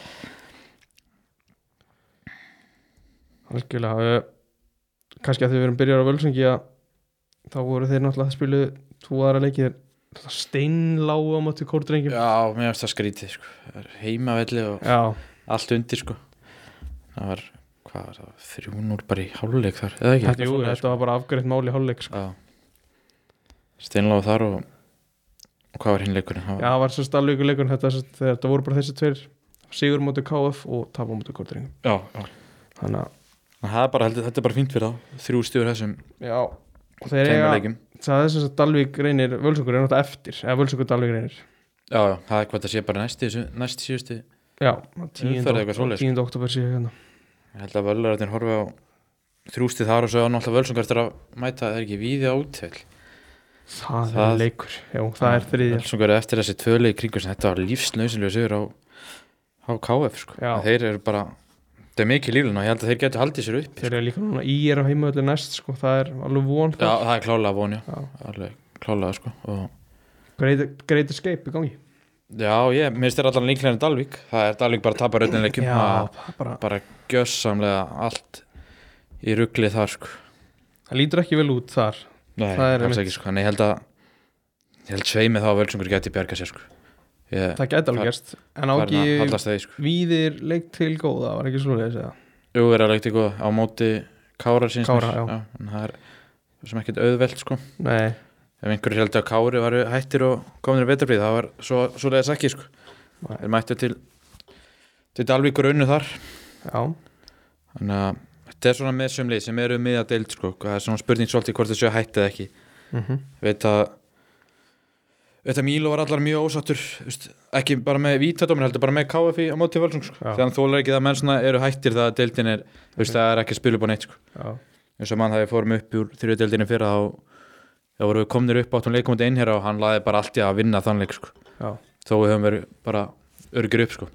Speaker 1: Algjörlega eh, Kannski að því við erum byrjar á Völsungi að þá voru þeir náttúrulega að spilu tvo aðra leikir steinláu á móti kórdrengjum
Speaker 2: já, mér finnst það skrítið sko. heimavelli og
Speaker 1: Já,
Speaker 2: allt undir sko. það var, hvað var það þrjúnur bara í háluleik þar eða ekki
Speaker 1: þetta, jú, þetta
Speaker 2: sko.
Speaker 1: var bara afgreitt mál í hálfleik sko.
Speaker 2: Já Steinláð þar og og hvað var hinn leikurinn?
Speaker 1: Já,
Speaker 2: Það var-
Speaker 1: það var sérst alveg ykkur leikun þetta, sérst, þetta voru bara þessi tveir sigur móti KF og tapa móti kortringum
Speaker 2: já, já.
Speaker 1: þannig að
Speaker 2: Það er bara, heldur, þetta er bara fínt fyrir þá þrjú stjórn þessum
Speaker 1: já, þeir
Speaker 2: tveimur
Speaker 1: eiga
Speaker 2: leikjum
Speaker 1: það er þess að Dalvík reynir völsungur er náttúrulega eftir eða völsungur Dalvík reynir
Speaker 2: já, já, það er hvað það sé bara næst, í þessu- næst síðustu
Speaker 1: já,
Speaker 2: Umferð eitthvað svoleiðis.
Speaker 1: 10. oktober séu hérna
Speaker 2: ég held að völararnir horfa á þrjústið þar og svo á náttúrulega völsungar eftir að mæta það er ekki víði átel
Speaker 1: það,
Speaker 2: Það-
Speaker 1: er leikur, já, það er þriðja
Speaker 2: völsungar eru eftir þessi tvöli í kringu sem þetta var lífsnausinlega sigur á, á KF sko.
Speaker 1: Já.
Speaker 2: þeir eru bara þetta er mikið líflun og ég held að þeir getur haldið sér upp
Speaker 1: þeir eru líka núna í er á heimöðli næst sko, það er alveg von
Speaker 2: já,
Speaker 1: það
Speaker 2: það er klálega von, já,
Speaker 1: Já.
Speaker 2: alveg klálega sko. og
Speaker 1: Great, great Escape í gangi
Speaker 2: já, ég, mér styrir allan líklega en Dalvik það er Dalvik bara að tapa rauninleikum
Speaker 1: já, það er bara,
Speaker 2: bara gjössamlega allt í ruggli þar sko.
Speaker 1: það lítur ekki vel út þar
Speaker 2: Nei,
Speaker 1: Það er einmitt.
Speaker 2: alls ekki sko, en ég held að ég held sveimi þá að völsungur geti bjarga sér sko ég
Speaker 1: það gæti
Speaker 2: Þar-
Speaker 1: alveg gerst en
Speaker 2: farin að
Speaker 1: ági
Speaker 2: hallast þeir sko
Speaker 1: víðir leik til góða var ekki slúlega eða
Speaker 2: Jú, við erum leikt eitthvað á móti Kára síns
Speaker 1: Kára, já.
Speaker 2: en það er svo sem ekkert auðvelt sko
Speaker 1: nei,
Speaker 2: ef einhverjur held að Kári var hættir og kominir betrafrið, það var svo, svo leiðis ekki sko
Speaker 1: Nei.
Speaker 2: þeir mættu til til Dalvíkur unnu þar
Speaker 1: já,
Speaker 2: þannig að þetta er svona með sömlið sem eru miða deild sko og það er svona spurning svolítið hvort þessu hættið eða ekki
Speaker 1: mhm
Speaker 2: veit að veit að Mílo var allar mjög ósattur veist, ekki bara með vítadóminn heldur bara með KFI á móti völsung sko.
Speaker 1: Já.
Speaker 2: þannig að þólar ekki það að menn svona eru hættir það að deildin er þú veist, það er ekki að spila upp á neitt sko.
Speaker 1: já,
Speaker 2: eins og mann það við fórum upp úr þriðu deildinu fyrir þá þá vorum við komnir upp áttum leikum út einherja og hann laði bara allt í að vinna þann leik sko.
Speaker 1: já
Speaker 2: þó við höfum verið bara örgir upp sko.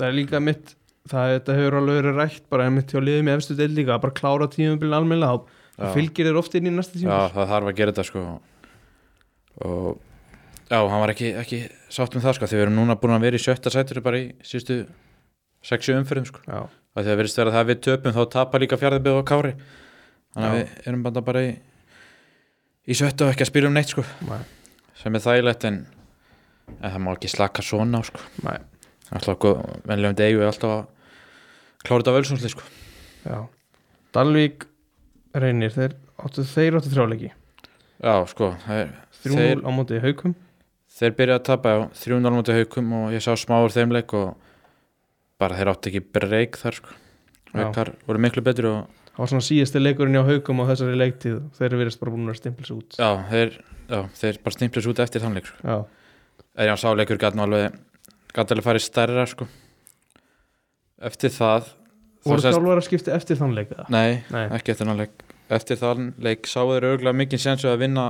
Speaker 1: það er líka mitt það þetta hefur alveg verið rætt bara einmitt hjá liðum í efstu del líka að bara klára tímabilin almennilega þá- þá
Speaker 2: Já.
Speaker 1: fylgir þér oft inn í næsta
Speaker 2: já,
Speaker 1: tíma
Speaker 2: það þarf að gera þetta sko. og já, hann var ekki, ekki sátt með það sko. því við erum núna búin að vera í sjötta sættur bara í sístu 6-7 umferðum sko.
Speaker 1: já,
Speaker 2: að því að verðist vera það að við töpum þá tapar líka fjárðabíð og kári þannig að
Speaker 1: Já.
Speaker 2: við erum bara, bara í, í sjötta og ekki að spila um neitt sko.
Speaker 1: næ,
Speaker 2: sem er þægilegt en, en það má ekki slaka svona á, sko.
Speaker 1: næ,
Speaker 2: alltaf okkur venlegum degu er alltaf að klára þetta völsumsli sko.
Speaker 1: já Dalvík reynir þeir áttu þeir áttu þrjáleiki
Speaker 2: já sko það er
Speaker 1: 3-0 á móti haukum
Speaker 2: þeir byrja að tapa á 3-0 mútið haukum og ég sá smáur þeim leik og bara þeir átti ekki breyk þar sko
Speaker 1: Já.
Speaker 2: Haukar voru miklu betur og
Speaker 1: það var svona síðasti leikurinn hjá haukum á þessari leiktíð þeir eru verið bara búin að stimpla sig út
Speaker 2: já, þeir, já, þeir bara stimplis út eftir þann leik sko.
Speaker 1: já,
Speaker 2: eða já, sáleikur gæti nú alveg gæti alveg farið stærra sko eftir það þá
Speaker 1: voru
Speaker 2: sést-
Speaker 1: þjálfara skipti eftir þann leik eða?
Speaker 2: nei,
Speaker 1: nei,
Speaker 2: ekki eftir þann leik eftir þann leik sáu þeir örgulega mikið sensu að vinna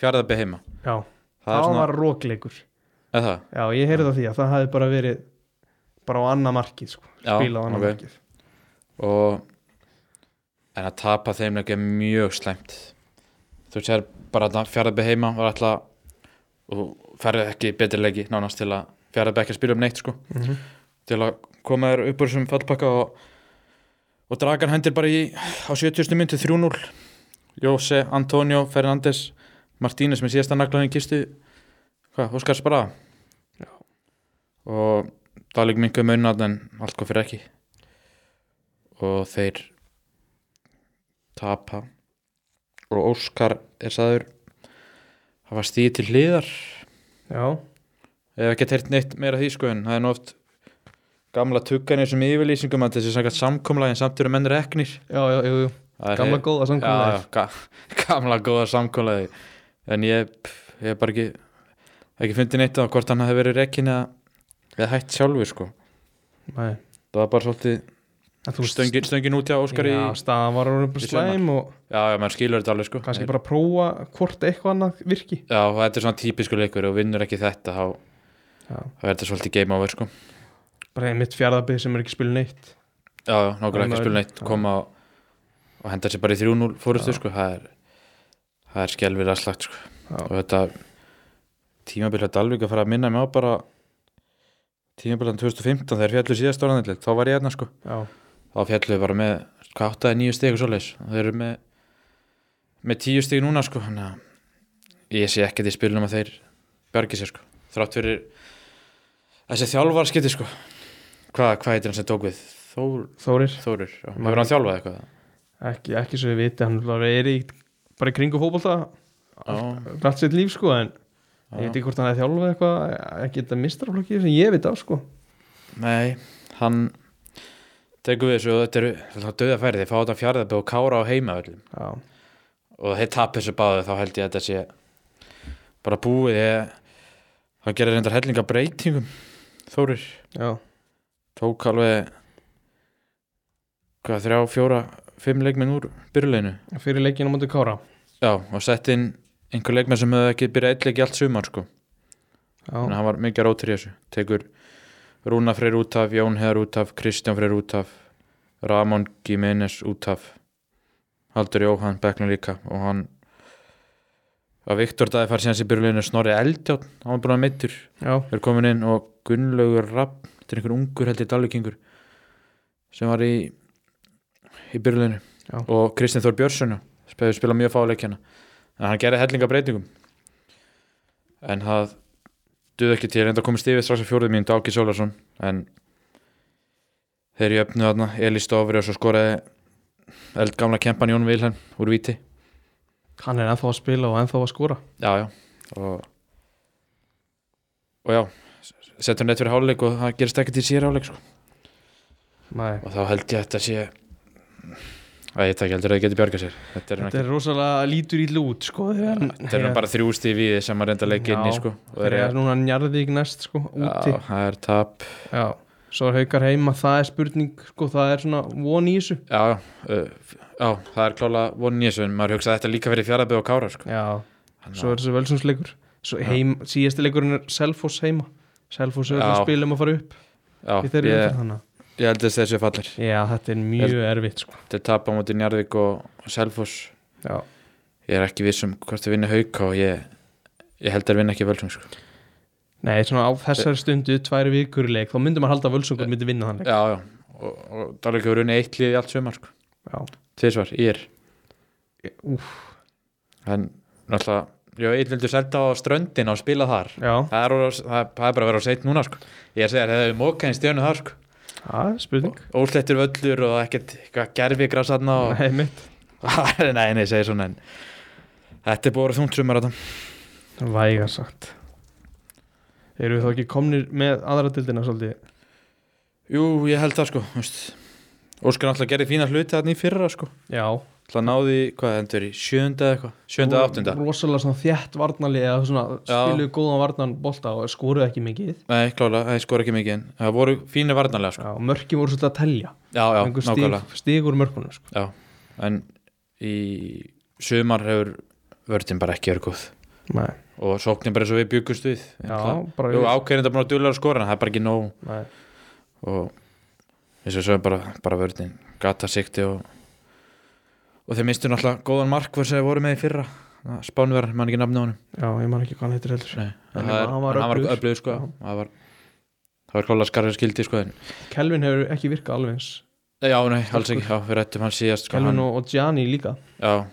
Speaker 2: fjárðabbi heima
Speaker 1: já,
Speaker 2: það er
Speaker 1: það
Speaker 2: svona,
Speaker 1: var rókleikur
Speaker 2: eða það
Speaker 1: Já, ég heyrði það því að það hafi bara verið bara á annað markið sko,
Speaker 2: Já,
Speaker 1: spilað á annað
Speaker 2: ok.
Speaker 1: markið
Speaker 2: og en að tapa þeim leik er mjög slæmt þú sér bara að fjárðabbi heima var alltaf og ferði ekki betri leiki nánast til að fjárðabbi ekki að spila um neitt sko
Speaker 1: mm
Speaker 2: til að koma þér upp úr þessum fallpakka og, og dragan hendir bara í á 70. myndi 3-0 Jose, Antonio, Fernandes Martínez með síðasta naglan í kistu hvað, Óskars bara
Speaker 1: Já.
Speaker 2: og Dalík mingu munat um en allt hvað fyrir ekki og þeir tapa og Óskar er sagður hafa stíð til hliðar
Speaker 1: Já,
Speaker 2: Ég hef ekki teirt neitt meira af því sko en það er nú oft gamla tugganir sem yfirlýsingum að þessi samkvæmt samkomla en samt eru menn reknir
Speaker 1: já, já, jú, jú.
Speaker 2: Það er-
Speaker 1: gamla góða
Speaker 2: Já, já,
Speaker 1: samkvæmlega
Speaker 2: ga gamla góða samkomlaði en ég pff, ég hef bara ekki ekki fundið neitt á hvort hann hefði verið rekin eða, eða hætt sjálfur sko
Speaker 1: Nei,
Speaker 2: það var bara svolítið
Speaker 1: en þú veist,
Speaker 2: stöngin, stöngin út hjá Óskar
Speaker 1: Já,
Speaker 2: í
Speaker 1: staðan var orðin bara
Speaker 2: í sumar.
Speaker 1: slæm og
Speaker 2: já, já, menn skilur þetta alveg sko
Speaker 1: kannski
Speaker 2: Þeir-
Speaker 1: bara prófa hvort eitthvað annað virki
Speaker 2: já, og þetta er svona típisku leikur og vinnur ekki þetta þá
Speaker 1: Já,
Speaker 2: þá er þetta svolítið game over sko
Speaker 1: bara mitt fjárðabið sem er ekki spilin neitt
Speaker 2: Já, já, nákvæmlega ekki
Speaker 1: Ömurlegt,
Speaker 2: að spila neitt
Speaker 1: já.
Speaker 2: koma og, og henda sér bara í 3-0 fórustu
Speaker 1: Já.
Speaker 2: sko, það er það er skelvilega slagt sko.
Speaker 1: Já.
Speaker 2: og þetta tímabilja Dalvík að fara að minna mig á bara tímabiljan 2015 þegar fjallu síðast orðanlega, þá var ég hérna sko
Speaker 1: Já,
Speaker 2: þá fjallu við bara með hvað áttaði nýju stig og svoleiðis og þeir eru með með tíu stig núna sko þannig að ég sé ekkert í spilunum að þeir bjargi sér sko, þrátt fyrir þessi þjálfarskipti sko hvað hva heitir hann sem tók við? Þór
Speaker 1: Þórir,
Speaker 2: Þórir, já.
Speaker 1: Maður-
Speaker 2: hefur hann þjálfað eitthvað?
Speaker 1: ekki, ekki svo ég viti hann alveg er í, bara í kringu fótbolta
Speaker 2: Já,
Speaker 1: rætt sitt líf sko en ég
Speaker 2: já.
Speaker 1: veit ekki hvort hann hefði þjálfað eitthvað ekki þetta mistraflokki sem ég veit af sko
Speaker 2: Nei, hann tekur við þessu og þetta eru þetta döða færið, fá þetta fjárðabbi og kára á heimavöllum
Speaker 1: já,
Speaker 2: og þeir tap þessu báðu þá held ég að þetta sé bara búið ég, hann gerir reyndar hellinga breytingum Þórir
Speaker 1: já,
Speaker 2: tók alveg hvað, þrjá, fjóra, fimm leikminn úr byrjuleginu
Speaker 1: fyrir leikinu mútið Kára
Speaker 2: Já, og sett inn einhver leikmenn sem hefði ekki byrjað eitt leik í allt sumar sko.
Speaker 1: já,
Speaker 2: þannig að hann var mikið rótur í þessu tekur Rúna Freyr út af, Jón Heðar út af Kristján Freyr út af Ramon Gimenez út af Haldur Jóhann Becknum líka og hann að Viktor Dæði fær síðan sér byrjuleginu Snorri Eldjátt, hann var búin að meittur
Speaker 1: já,
Speaker 2: er komin inn og Gunnlaugur Rapp þetta er einhver ungur held ég dalvikingur sem var í í byrjulinu
Speaker 1: Já.
Speaker 2: og Kristinn Þór Björnsson spila, spila mjög fáleikjana en hann gerði hellinga breytingum en það duð ekki til enda komist yfir strax á fjóruðu mínu Dáki Sólarsson en þeir jöfnu þarna Elís Dofri og svo skoraði eldgamla kempan Jón Vilhelm úr viti
Speaker 1: hann er ennþá að spila og ennþá að skora
Speaker 2: já, já og, og já settur hann rétt fyrir háluleik og það gerist ekkert í sér háluleik sko.
Speaker 1: Nei.
Speaker 2: og þá held ég að þetta sé að ég takk heldur að það geti bjarga sér þetta er,
Speaker 1: þetta
Speaker 2: þetta
Speaker 1: er rosalega lítur í lút sko, þegar hann
Speaker 2: þetta er nú bara þrjústi við sem að reynda að leika inn í
Speaker 1: Já,
Speaker 2: sko, og
Speaker 1: þegar
Speaker 2: er,
Speaker 1: er núna njarðvík næst sko, úti
Speaker 2: já, það er tap
Speaker 1: Já, svo er haukar heima, það er spurning sko, það er svona von í þessu
Speaker 2: já, uh, já, það er klála vonin í þessu en maður hugsaði að þetta líka fyrir fjarafið og kára sko.
Speaker 1: Já,
Speaker 2: Þannig
Speaker 1: svo
Speaker 2: að-
Speaker 1: er þessi völsumsleikur Svo heim, síðasti leikurinn er Selfoss heima Selfoss er það
Speaker 2: Já.
Speaker 1: spilum að fara upp í
Speaker 2: já,
Speaker 1: þeirri
Speaker 2: ég,
Speaker 1: umferð hana
Speaker 2: ég held að þessu fallir
Speaker 1: Já, þetta er mjög erfitt sko
Speaker 2: þetta er tap á móti Njarðvík og, og Selfoss
Speaker 1: Já,
Speaker 2: ég er ekki viss um hvort þið vinna hauka og ég, ég held að vinna ekki völsung sko.
Speaker 1: nei, svona á þessari stundu tvær vikur í leik, þá myndum maður halda að völsungur myndi vinna þannig
Speaker 2: já, já, og, og Dalvik hefur unni eitt lið í allt sumar sko.
Speaker 1: Já,
Speaker 2: tvisvar, ég er
Speaker 1: úf,
Speaker 2: en náttúrulega, já, eitt vildur selda á ströndin og spila þar
Speaker 1: já,
Speaker 2: það er, orðið- það, það er bara að vera á seitt núna sko. ég er að segja, það hefur mókað í stjönu þar sko.
Speaker 1: það er spurning
Speaker 2: óslettur völlur og ekkert gerfi græsarna og...
Speaker 1: Nei, mitt,
Speaker 2: nei, nei, segi svona en þetta er búið að vera þungt sumar þetta
Speaker 1: vægar sagt Erum við þá ekki komnir með aðra dildina svolítið?
Speaker 2: jú, ég held það sko þú veist. Óskar náttúrulega gerði fína hluti þarna í fyrra sko
Speaker 1: Já,
Speaker 2: Það náði, hvað endur í, sjönda eða eitthvað? Sjönda eða áttunda?
Speaker 1: Rosalega svona þjætt varnarli eða svona
Speaker 2: Já.
Speaker 1: spiluðu góðan varnan bolta og skoruðu ekki mikið
Speaker 2: Nei, klála, það skor ekki mikið en það voru fínir varnarlega sko.
Speaker 1: Já, mörkin voru svolítið að telja
Speaker 2: Já, já,
Speaker 1: einhver
Speaker 2: nákvæmlega.
Speaker 1: stig, stig úr mörkunum sko.
Speaker 2: Já, en í sumar hefur vördin bara ekki verið góð
Speaker 1: Nei,
Speaker 2: og sóknin bara eins og við byggust við.
Speaker 1: já,
Speaker 2: Náttúrulega.
Speaker 1: bara
Speaker 2: Jú, ákveðin þetta bara að duðlega að skora en það er bara ekki nóg
Speaker 1: Nei,
Speaker 2: og eins og svo bara, bara vördin gata sikti og og þeir mistu náttúrulega góðan markvör sem þeir voru með í fyrra Spánverðar, mann ekki nafni á honum
Speaker 1: já, ég man ekki hvað hann heitir heldur
Speaker 2: Nei,
Speaker 1: En
Speaker 2: það er-
Speaker 1: hann var
Speaker 2: en hann var
Speaker 1: öflugur.
Speaker 2: öflugur sko,
Speaker 1: Já.
Speaker 2: það var það var klála skarrið skildi sko en
Speaker 1: Kelvin hefur ekki virkað alveg eins
Speaker 2: Já, nei, alls ekki, já, við rættum hann síðast sko,
Speaker 1: Kelvin
Speaker 2: hann,
Speaker 1: og, og Gianni líka
Speaker 2: Já,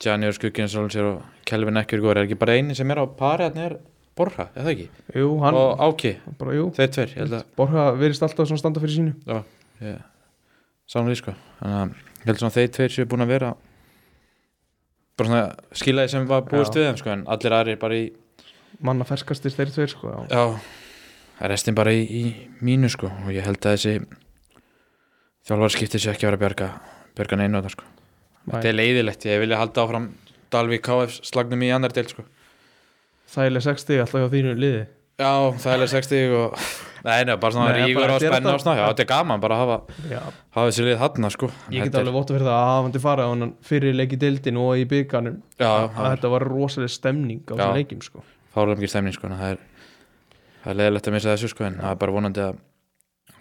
Speaker 2: Gianni og Skuggin Sólum sér og Kelvin ekki er góður, er ekki bara eini sem er á pari hann er Borra, er það ekki?
Speaker 1: Jú, hann,
Speaker 2: Og Áki,
Speaker 1: bara jú
Speaker 2: þeir tver, ég held að
Speaker 1: Borga verist alltaf svona standa fyrir sínu
Speaker 2: saman því sko, þannig að ég held svona að þeir tveir séu búin að vera bara svona skilaði sem var búist
Speaker 1: Já.
Speaker 2: við þeim sko, en allir aðrir bara í
Speaker 1: Manna ferskastir þeir tveir sko já.
Speaker 2: Já, restin bara í, í mínu sko, og ég held að þessi þjálfarskipti séu ekki að vera að bjarga bjarga neinu þetta sko Þetta
Speaker 1: Nei,
Speaker 2: er leiðilegt, ég vilja halda áfram Dalvík KF slagnum í annar del sko.
Speaker 1: Þægileg 60 alltaf hjá þínu liði
Speaker 2: Já, það er leið 60 og Nei, nei, bara svona
Speaker 1: Nei,
Speaker 2: rífur
Speaker 1: bara
Speaker 2: og
Speaker 1: gera
Speaker 2: spenna
Speaker 1: þetta.
Speaker 2: og svona Já, þetta er gaman bara að hafa,
Speaker 1: Já,
Speaker 2: hafa þessi lið þarna sko.
Speaker 1: ég get
Speaker 2: Þetta er-
Speaker 1: alveg vóta fyrir það að hafandi farað hann fyrir leik í deildin og í byggarnum
Speaker 2: Já,
Speaker 1: að
Speaker 2: það er
Speaker 1: þetta var rosalega stemning á þessum
Speaker 2: Já.
Speaker 1: leikjum sko
Speaker 2: fálega mikið stemning sko, en það er, það er leiðilegt að missa þessu sko, en það er bara vonandi að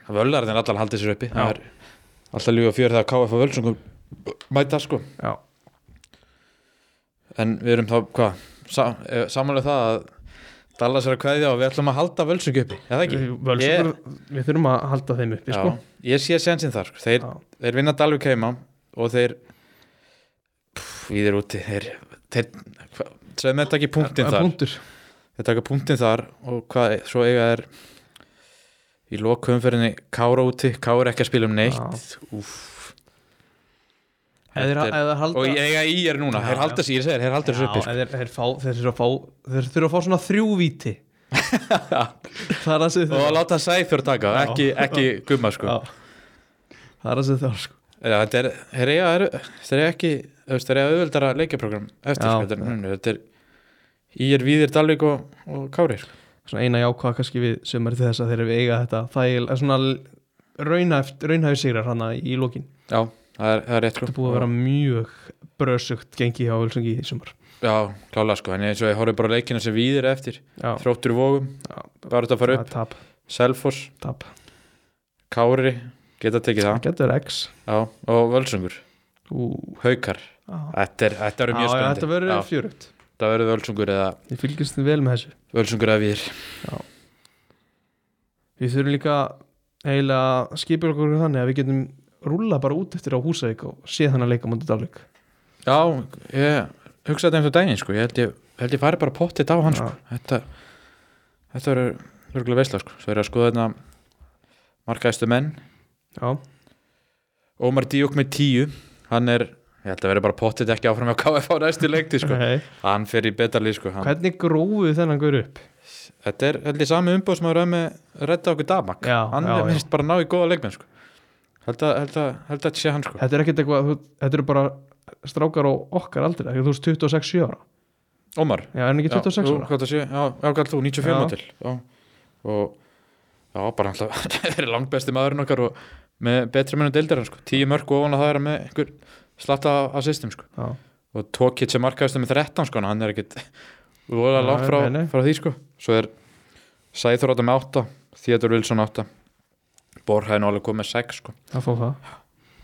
Speaker 2: að völarðin allar haldi sér uppi
Speaker 1: Já.
Speaker 2: Það er alltaf ljúga fjör þegar KF og völsungum mæta sko
Speaker 1: Já,
Speaker 2: En við erum þá, hvað, Sa, samanlega það að Dallas er að kveðja og við ætlum að halda völsungu uppi, eða ekki?
Speaker 1: Völsungur, við þurfum að halda þeim uppi
Speaker 2: Já,
Speaker 1: sko
Speaker 2: ég sé sensin þar sko. þeir,
Speaker 1: Já.
Speaker 2: þeir vinna Dalvik heima og þeir pff, við erum úti þeir, þeir hva- sem þeir taka punktin
Speaker 1: Það er
Speaker 2: þar
Speaker 1: punktur.
Speaker 2: þeir taka punktin þar og hvað svo eiga er í lokumferðinni Kára úti Kára ekki að spila um neitt Úff.
Speaker 1: Ef þeir-
Speaker 2: Þetta er-
Speaker 1: ef þeir halda-
Speaker 2: og ég eiga í er núna
Speaker 1: Já,
Speaker 2: þeir
Speaker 1: já.
Speaker 2: halda sér, sko. ég segir, þeir halda sér
Speaker 1: Já,
Speaker 2: uppi sko.
Speaker 1: ef þeir- þeir þurfa að fá- þeir þurfa að fá svona þrjú víti það er að segja
Speaker 2: og að láta Sæfjör taka,
Speaker 1: Já.
Speaker 2: ekki, ekki gumma sko.
Speaker 1: Já. það er að segja þjálf sko.
Speaker 2: Já, þetta er, þeir eiga, eru- þeir eiga ekki þú veist, þeir eiga auðveldara leikjaprogram eftir
Speaker 1: Já.
Speaker 2: sko, þetta er, núna, þetta er Ír, Víðir, Dalvik og, og Kári sko.
Speaker 1: svona eina jákvæða kannski við sömari til þess að þeir eiga þetta þægil, er svona raunhæft, raunhæfi sigrar hana í lókin
Speaker 2: Já, það er, það er rétt sko.
Speaker 1: þetta er búið að vera mjög brösugt gengi hjá Völsungi í sömar
Speaker 2: Já, klála sko, en eins og ég horfði bara á leikina sem Víðir er eftir,
Speaker 1: já,
Speaker 2: þróttur í vógum
Speaker 1: Já.
Speaker 2: bara þetta að fara
Speaker 1: það
Speaker 2: upp,
Speaker 1: er tap,
Speaker 2: Selfoss,
Speaker 1: tap
Speaker 2: Kári geta tekið það,
Speaker 1: getur X
Speaker 2: já, og Völsungur
Speaker 1: Ú,
Speaker 2: Haukar,
Speaker 1: á.
Speaker 2: þetta er, þetta er
Speaker 1: Já,
Speaker 2: mjög
Speaker 1: já,
Speaker 2: spennandi
Speaker 1: þetta verður
Speaker 2: Já,
Speaker 1: fjörugt
Speaker 2: þetta verður Völsungur eða
Speaker 1: ég fylgist þið vel með þessu
Speaker 2: Völsungur eða Víðir
Speaker 1: við þurfum líka eiginlega að skipa okkur þannig að við getum rúlla bara út eftir á Húsavík og sé þannig að leika mútið Dalvik
Speaker 2: Já, ég hugsaði þetta eins og daginn sko. ég, held ég, held ég fari bara pottit á hann sko. þetta, þetta verður virkulega veistla sko. svo er ég að skoða þetta markaðistu menn
Speaker 1: já,
Speaker 2: Ómar Díuk með tíu hann er, ég held að verður bara pottit ekki áfram á KF á næstu leikti sko.
Speaker 1: Nei.
Speaker 2: hann fer í betarlið sko. hann,
Speaker 1: hvernig gróðu þennan gaur upp
Speaker 2: þetta er held ég sami umbóð sem að rauð með redda okkur damak
Speaker 1: Já,
Speaker 2: hann
Speaker 1: já, já.
Speaker 2: er minnst bara ná í góða leikmenn sko. held, að, held, að, held að þetta sé hann sko.
Speaker 1: þetta er ekkert eitthvað, þú- þetta eru bara strákar á okkar aldrei, þú veist 26-7 ára
Speaker 2: Ómar
Speaker 1: já, er hann ekki 26
Speaker 2: já,
Speaker 1: ára?
Speaker 2: ára já, já, galt þú, 94
Speaker 1: Já.
Speaker 2: mótil já. og já, bara alltaf það er langt besti maðurinn okkar og með betri mennum deildar sko. tíu mörg og ofan að það er með einhver slatta af system sko.
Speaker 1: Já.
Speaker 2: og Tókic sem markaðist með 13 sko, hann er ekkit voða
Speaker 1: Nei,
Speaker 2: langt frá,
Speaker 1: nei, nei.
Speaker 2: frá því sko. svo er Sæþór átta með 8 Þíatur Wilson 8 Borhæðin alveg komið með 6 sko.
Speaker 1: að fá það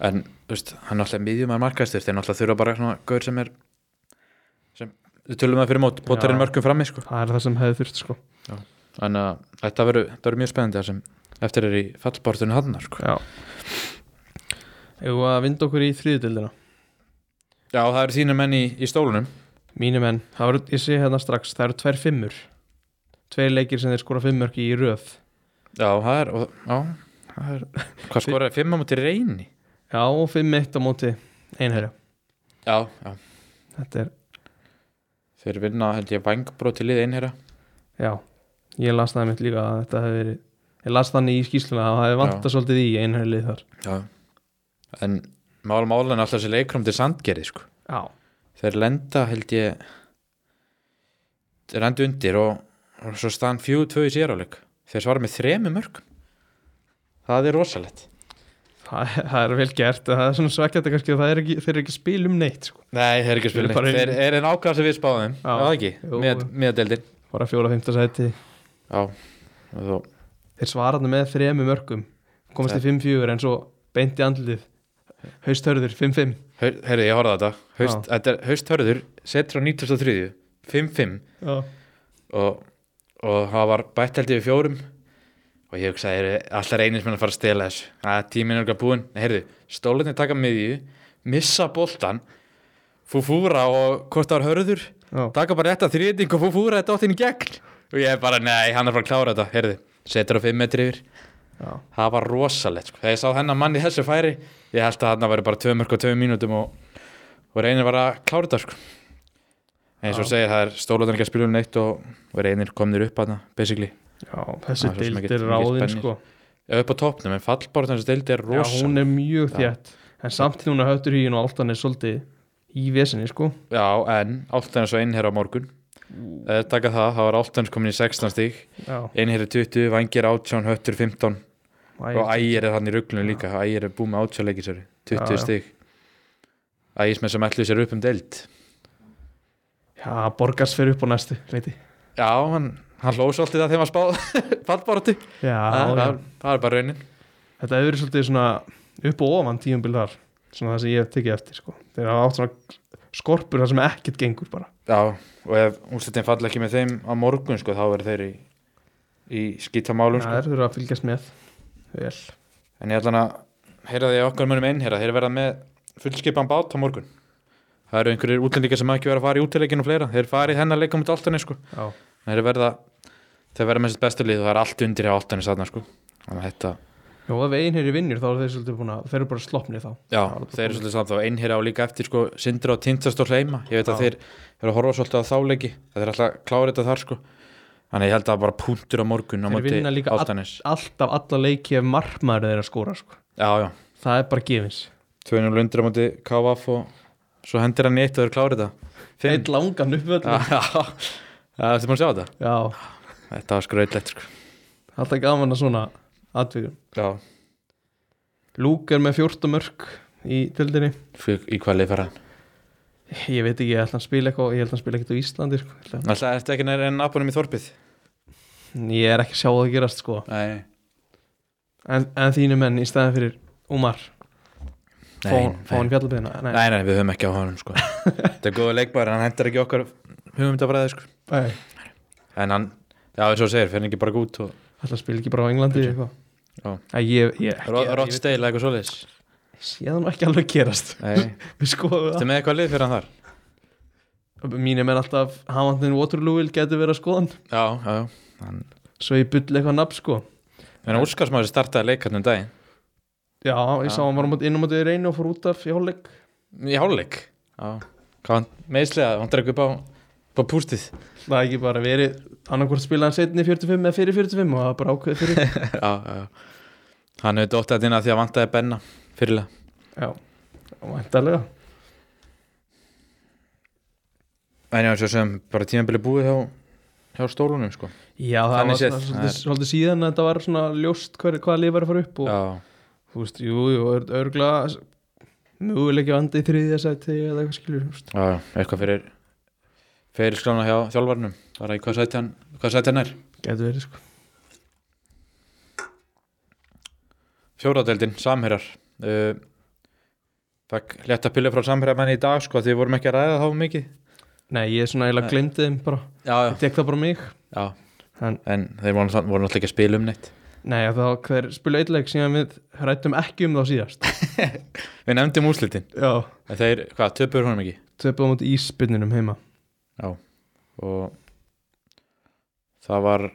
Speaker 2: en þú veist, hann er alltaf miðjum að markaðist þeir náttúrulega þurfa bara svona gaur sem er sem, við tölum það fyrir mót, potarinn
Speaker 1: Já.
Speaker 2: mörgum frammi sko
Speaker 1: það er það sem hefði þurft sko
Speaker 2: þannig að þetta verður þetta verður mjög spennandi það sem eftir er í fallbortinu hann sko.
Speaker 1: já eða að vinda okkur í þriðutildina
Speaker 2: já það eru þínu menn í, í stólunum
Speaker 1: Mínu menn, það var, ég sé hérna strax, það eru tver fimmur Tveir leikir sem þeir skora fimmörk í röð
Speaker 2: já það er, og, já, það er hvað skoraði fimm á múti reyni
Speaker 1: Já, og fimm eitt á móti einherja
Speaker 2: já, já
Speaker 1: Þetta er,
Speaker 2: þeir vinna held ég vangbróti lið einherja
Speaker 1: já, ég las það mitt líka að þetta hefði verið Ég las þannig í skýsluna að það hefði vantað svolítið í einherjalið þar
Speaker 2: já en mál málan alltaf þessi leikrum til sandgerði sko
Speaker 1: Já,
Speaker 2: þeir lenda held ég þeir lenda undir og, og svo staðan fjú tvö í séráleik þeir svara með þremi mörgum það er rosalegt
Speaker 1: það, það er vel gert en Það er svona svekkjætt kannski að það er ekki, þeir eru ekki að spila um neitt sko.
Speaker 2: Nei, þeir eru ekki að
Speaker 1: Þeir eru
Speaker 2: spila neitt
Speaker 1: bara
Speaker 2: Þeir
Speaker 1: í-
Speaker 2: eru nákvæmlega sem við spáðum
Speaker 1: Já.
Speaker 2: Já, það ekki,
Speaker 1: Jú.
Speaker 2: með, með deildin
Speaker 1: Bara fjóra fymta sæti
Speaker 2: Já, og þó,
Speaker 1: Þeir svara hann með þremu mörkum Komast í
Speaker 2: Það-
Speaker 1: fimm fjögur en svo beint í andlið Haustörður, fimm fimm
Speaker 2: Hau- heyrðu, ég horfði á þetta Haust, Þetta er hausthörður, setur á 93 5-5
Speaker 1: Já,
Speaker 2: og, og það var bætt held ég við fjórum og ég hugsaði, heyrðu, allar einins menn að fara að stela þessu að tíminn er okkar búinn, Nei, heyrðu, stólinni taka miðju, missa boltan fúfúra og hvort það var hörður
Speaker 1: já,
Speaker 2: taka bara þetta þrýting og fúfúra þetta áttinn í gegn og ég bara, nei, hann er bara að klára þetta heyrðu, setur á 5 metri yfir
Speaker 1: já.
Speaker 2: það var rosalegt sko. þegar ég sá hennar mann í þessu færi ég held að hann væri bara 2 mörg og 2 mínútum og, og reynir var að klára þetta sko. eins og
Speaker 1: Já.
Speaker 2: segir það er stólaðan ekki að spila um neitt og, og reynir komnir upp hana basically,
Speaker 1: já þessi
Speaker 2: Það er svo sem
Speaker 1: deild
Speaker 2: ekkert-
Speaker 1: er
Speaker 2: ekkert
Speaker 1: ráðin
Speaker 2: spennir.
Speaker 1: sko
Speaker 2: Já, upp á topnum en fallbáratan þessu deildi er
Speaker 1: Já,
Speaker 2: rosalegt
Speaker 1: hún er mjög
Speaker 2: Já.
Speaker 1: þétt En samt núna höttur hýjun og áltan er svolítið í vesinni, sko
Speaker 2: já, en Álftanes og Einherja á morgun eða taka það, það var Álftanes komin í 16 stík
Speaker 1: Já,
Speaker 2: Einherja 20, Vangir 18, Höttur 15 og
Speaker 1: æ,
Speaker 2: Ægir er hann í rugglunum líka Ægir er búið með 18 leikisöru,
Speaker 1: Já,
Speaker 2: 20
Speaker 1: já.
Speaker 2: stík Ægismenn sem ætluð sér upp um deild
Speaker 1: já borgars fyrir upp á næstu leiti.
Speaker 2: Já, hann, hann hlóð svolítið það þegar maður spáð fallbáratu
Speaker 1: Já,
Speaker 2: það,
Speaker 1: Ah, já.
Speaker 2: það, það er bara raunin
Speaker 1: Þetta hefur verið svolítið svona upp og ofan tíumbil þar Svona það sem ég hef tekið eftir, sko Þeir hafa átt svona skorpur þar sem ekkert gengur bara
Speaker 2: Já, og ef úrslitin falla ekki með þeim á morgun sko, þá verður þeir í, í
Speaker 1: Já,
Speaker 2: skítamálum sko.
Speaker 1: þeir þurfa að fylgjast með Vel
Speaker 2: en ég ætlan að heyra því að okkar munum einherra þeir verða með fullskipan bát á morgun það eru einhverjir útlendingar sem ekki verða að fara í útileikinu og fleira, þeir farið hennar leika um alltaf sko.
Speaker 1: Já,
Speaker 2: þeir verða þeir verða með sitt bestu lið og það er allt undir á alltaf þarna sko. þannig að þetta
Speaker 1: já ef einherri vinnur þá eru þeir svolítið búin að Þeir eru bara slopnið þá
Speaker 2: Já,
Speaker 1: Það er bara
Speaker 2: þeir eru
Speaker 1: komið.
Speaker 2: svolítið samt þá einherja á líka eftir sko Sindri og Tindastól heima, ég veit að
Speaker 1: Já.
Speaker 2: þeir eru að horfa svolítið á þáleiki þeir eru alltaf að klára þetta þar sko Þannig ég held að bara punktur á morgun á
Speaker 1: Þeir
Speaker 2: móti
Speaker 1: vinna líka all-
Speaker 2: áttanis
Speaker 1: alltaf alla leiki ef marmaður þeirra skóra sko.
Speaker 2: Já, já,
Speaker 1: það er bara gefins
Speaker 2: tvöinum lundir á móti KVF og svo hendir hann í eitt og þeir klára þetta
Speaker 1: eitt langan uppvöld
Speaker 2: Já, já, það er búin að sjá þetta
Speaker 1: já,
Speaker 2: Þetta var skröðlegt sko
Speaker 1: alltaf gaman að svona atvikum
Speaker 2: Já,
Speaker 1: Lúk er með 14 mörg í tildinni
Speaker 2: Fyrir, í hvað leið fer hann?
Speaker 1: ég veit ekki, ég held að hann spila eitthvað ég held að hann spila eitthvað á Íslandi sko. Ég held að-
Speaker 2: Alltaf ertu ekki nær enn apunum í þorpið?
Speaker 1: ég er ekki að sjá það að gerast sko.
Speaker 2: Nei,
Speaker 1: en, en þínu menn í staðin fyrir Umar fá
Speaker 2: nei,
Speaker 1: fá hann fjallabíðina nei,
Speaker 2: nei, nei, við höfum ekki á honum sko Þetta er góða leikbæður, hann hendur ekki okkar hugmyndabræði sko
Speaker 1: nei.
Speaker 2: En hann, já, eins og þú segir, fyrir ekki bara gút og
Speaker 1: alltaf spila ekki bara á Englandi eitthvað
Speaker 2: Já.
Speaker 1: Æ, ég, ég, ekki,
Speaker 2: Rod-
Speaker 1: ég,
Speaker 2: Rottdale eða eitthvað svoleiðis
Speaker 1: ég sé það nú ekki alveg gerast
Speaker 2: Nei,
Speaker 1: við skoðum það
Speaker 2: þetta með eitthvað lið fyrir hann þar?
Speaker 1: mínum er alltaf Hamantinn Waterloo getur verið að skoðan
Speaker 2: Já, já, já Hann
Speaker 1: svo ég byll eitthvað nafn sko
Speaker 2: En Óskars maður startaði leikarnum daginn
Speaker 1: já, ég
Speaker 2: Já.
Speaker 1: sá hann var á móti- inn á mótið reynu og fór út af í hálfleik
Speaker 2: Í háluleik Já Hvað hann meðslega, hann dreg upp á, upp á pústið
Speaker 1: það er ekki bara verið annarkvort spila hann setni 45 eða fyrir 45 og það var bara ákveðið fyrir
Speaker 2: Já, já Hann hefur dótt þetta inn að því að vantaði Benna fyrirlega
Speaker 1: já, væntalega
Speaker 2: En já, svo sem bara tímabili búið hjá, hjá stólunum sko
Speaker 1: já, það
Speaker 2: Þannig
Speaker 1: var
Speaker 2: séð,
Speaker 1: svona,
Speaker 2: það
Speaker 1: svolítið,
Speaker 2: er-
Speaker 1: svolítið síðan að þetta var svona ljóst hver, hvaða lið var að fara upp og
Speaker 2: Já,
Speaker 1: þú veist, jú, jú, örgla möguleikja vandi í þriðja sæti eða eitthvað skilur, þú veist.
Speaker 2: já, já, eitthvað fyrir fyrir skrána hjá þjálfarnum bara í hvað sæti hann, hvað sæti hann er
Speaker 1: getur verið sko
Speaker 2: Fjóraðeldin, samherjar uh, Fekk létta pillu frá samherjarmenni í dag sko því við vorum ekki að ræða þá mikið
Speaker 1: nei, ég er svona eiginlega glemdi þeim bara
Speaker 2: Já, já,
Speaker 1: ég tek það bara á mig
Speaker 2: já
Speaker 1: en
Speaker 2: En þeir voru, náttúrulega- voru náttúrulega ekki að spila um neitt
Speaker 1: Nei, þá hver spila eitleik síðan við rættum ekki um þá síðast
Speaker 2: Við nefndum úslitin
Speaker 1: Já
Speaker 2: En þeir, hvað, töpur honum ekki
Speaker 1: Töpum út íspinninum heima
Speaker 2: Og það var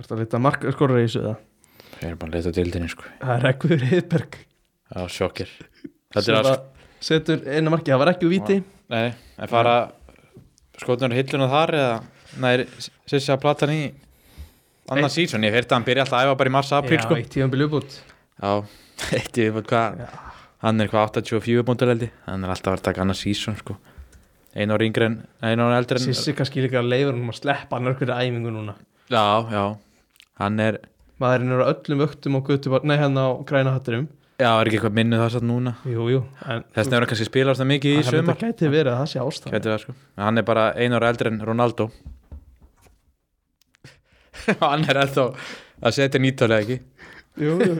Speaker 1: Þetta lita markaskorra í þessu það
Speaker 2: Ég er bara að leita á dildinni sko
Speaker 1: Það er Rekviður Heiðberg
Speaker 2: Já, sjokkir Þetta er alls
Speaker 1: Sem að Setur eina marki, það var ekki úr víti
Speaker 2: Nei, en fara skotnur hilluna þar eða Nei, sissi að plata hann í Annan
Speaker 1: Eitt-
Speaker 2: sísón, ég hef heyrt að hann byrja alltaf að æfa bara í mars apríl sko
Speaker 1: eitt tíðan byrju uppbútt
Speaker 2: Já, eitt ég veit hvað
Speaker 1: Já.
Speaker 2: Hann er hvað 84 búndaleldi Hann er alltaf að vera að taka annan sísón sko Einar yngri en, einar eldri en
Speaker 1: Sissi kannski líka leifur um að sleppa annar hverju æfingu núna
Speaker 2: Já, já, hann er
Speaker 1: Maðurinn er á öllum öktum og gutu Nei, hérna á græna hatturum
Speaker 2: Já, er ekki eitthvað minnu það satt núna
Speaker 1: Jú, jú En
Speaker 2: Þess vegna er hann kannski spilast það mikið í
Speaker 1: Það
Speaker 2: sömur
Speaker 1: gæti verið að það sé ástæð
Speaker 2: Gæti það sko En Hann er bara einu ára eldri en Ronaldo Hann er ennþá að setja nýttalega ekki
Speaker 1: Jú, jú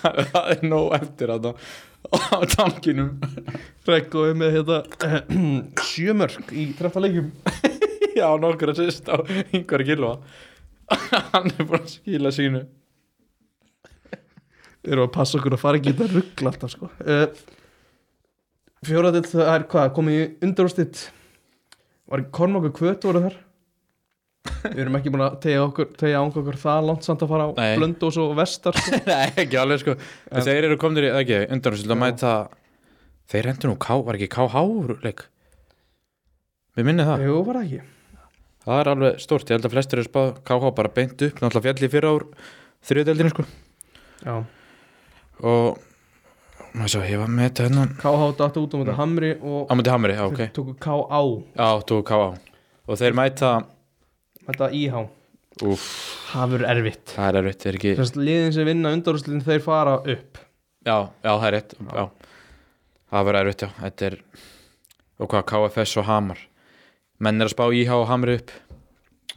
Speaker 2: Það er nóg eftir að það á tankinum
Speaker 1: Rekviður með hérna Sjömörk í 13 leikum
Speaker 2: Já, nokkur að sýst á yngvar kilva Hann er búin að skila sínu
Speaker 1: erum að passa okkur að fara ekki í þetta ruggla alltaf sko uh, fjóraðill það er hvað komið í undarústitt var ekki Kormákur Kvöt voru þar við erum ekki búin að tegja okkur tegja ánga okkur það langt samt að fara á
Speaker 2: Nei.
Speaker 1: Blöndós og Vestar sko.
Speaker 2: Nei, ekki alveg sko en,
Speaker 1: En-
Speaker 2: Þeir eru komnir í, ekki, undanúrslit að
Speaker 1: Já.
Speaker 2: mæta Þeir hendur nú, K, var ekki KH leik Mér minni það
Speaker 1: jú var það ekki
Speaker 2: Það er alveg stórt, ég held að flestir eru spáð KH bara beint upp, náttúrulega fjalli fyrir ár þriðdeldinu sko
Speaker 1: já
Speaker 2: og maður svo, ég var með þetta hérna. hennan
Speaker 1: KH datt út á móti Hamri og
Speaker 2: Mm. á myndi Hamri, já ok,
Speaker 1: þeir tóku KA
Speaker 2: já, þú KH og þeir mæta,
Speaker 1: þetta IH
Speaker 2: uff,
Speaker 1: það verður erfitt
Speaker 2: það er erfitt, þeir ekki
Speaker 1: Þess, liðin sem vinna undarústin þeir fara upp
Speaker 2: já, já, það er rétt, já það verður erfitt, já, þetta er og hvað, KFS og Hamar menn er að spá IH og Hamri upp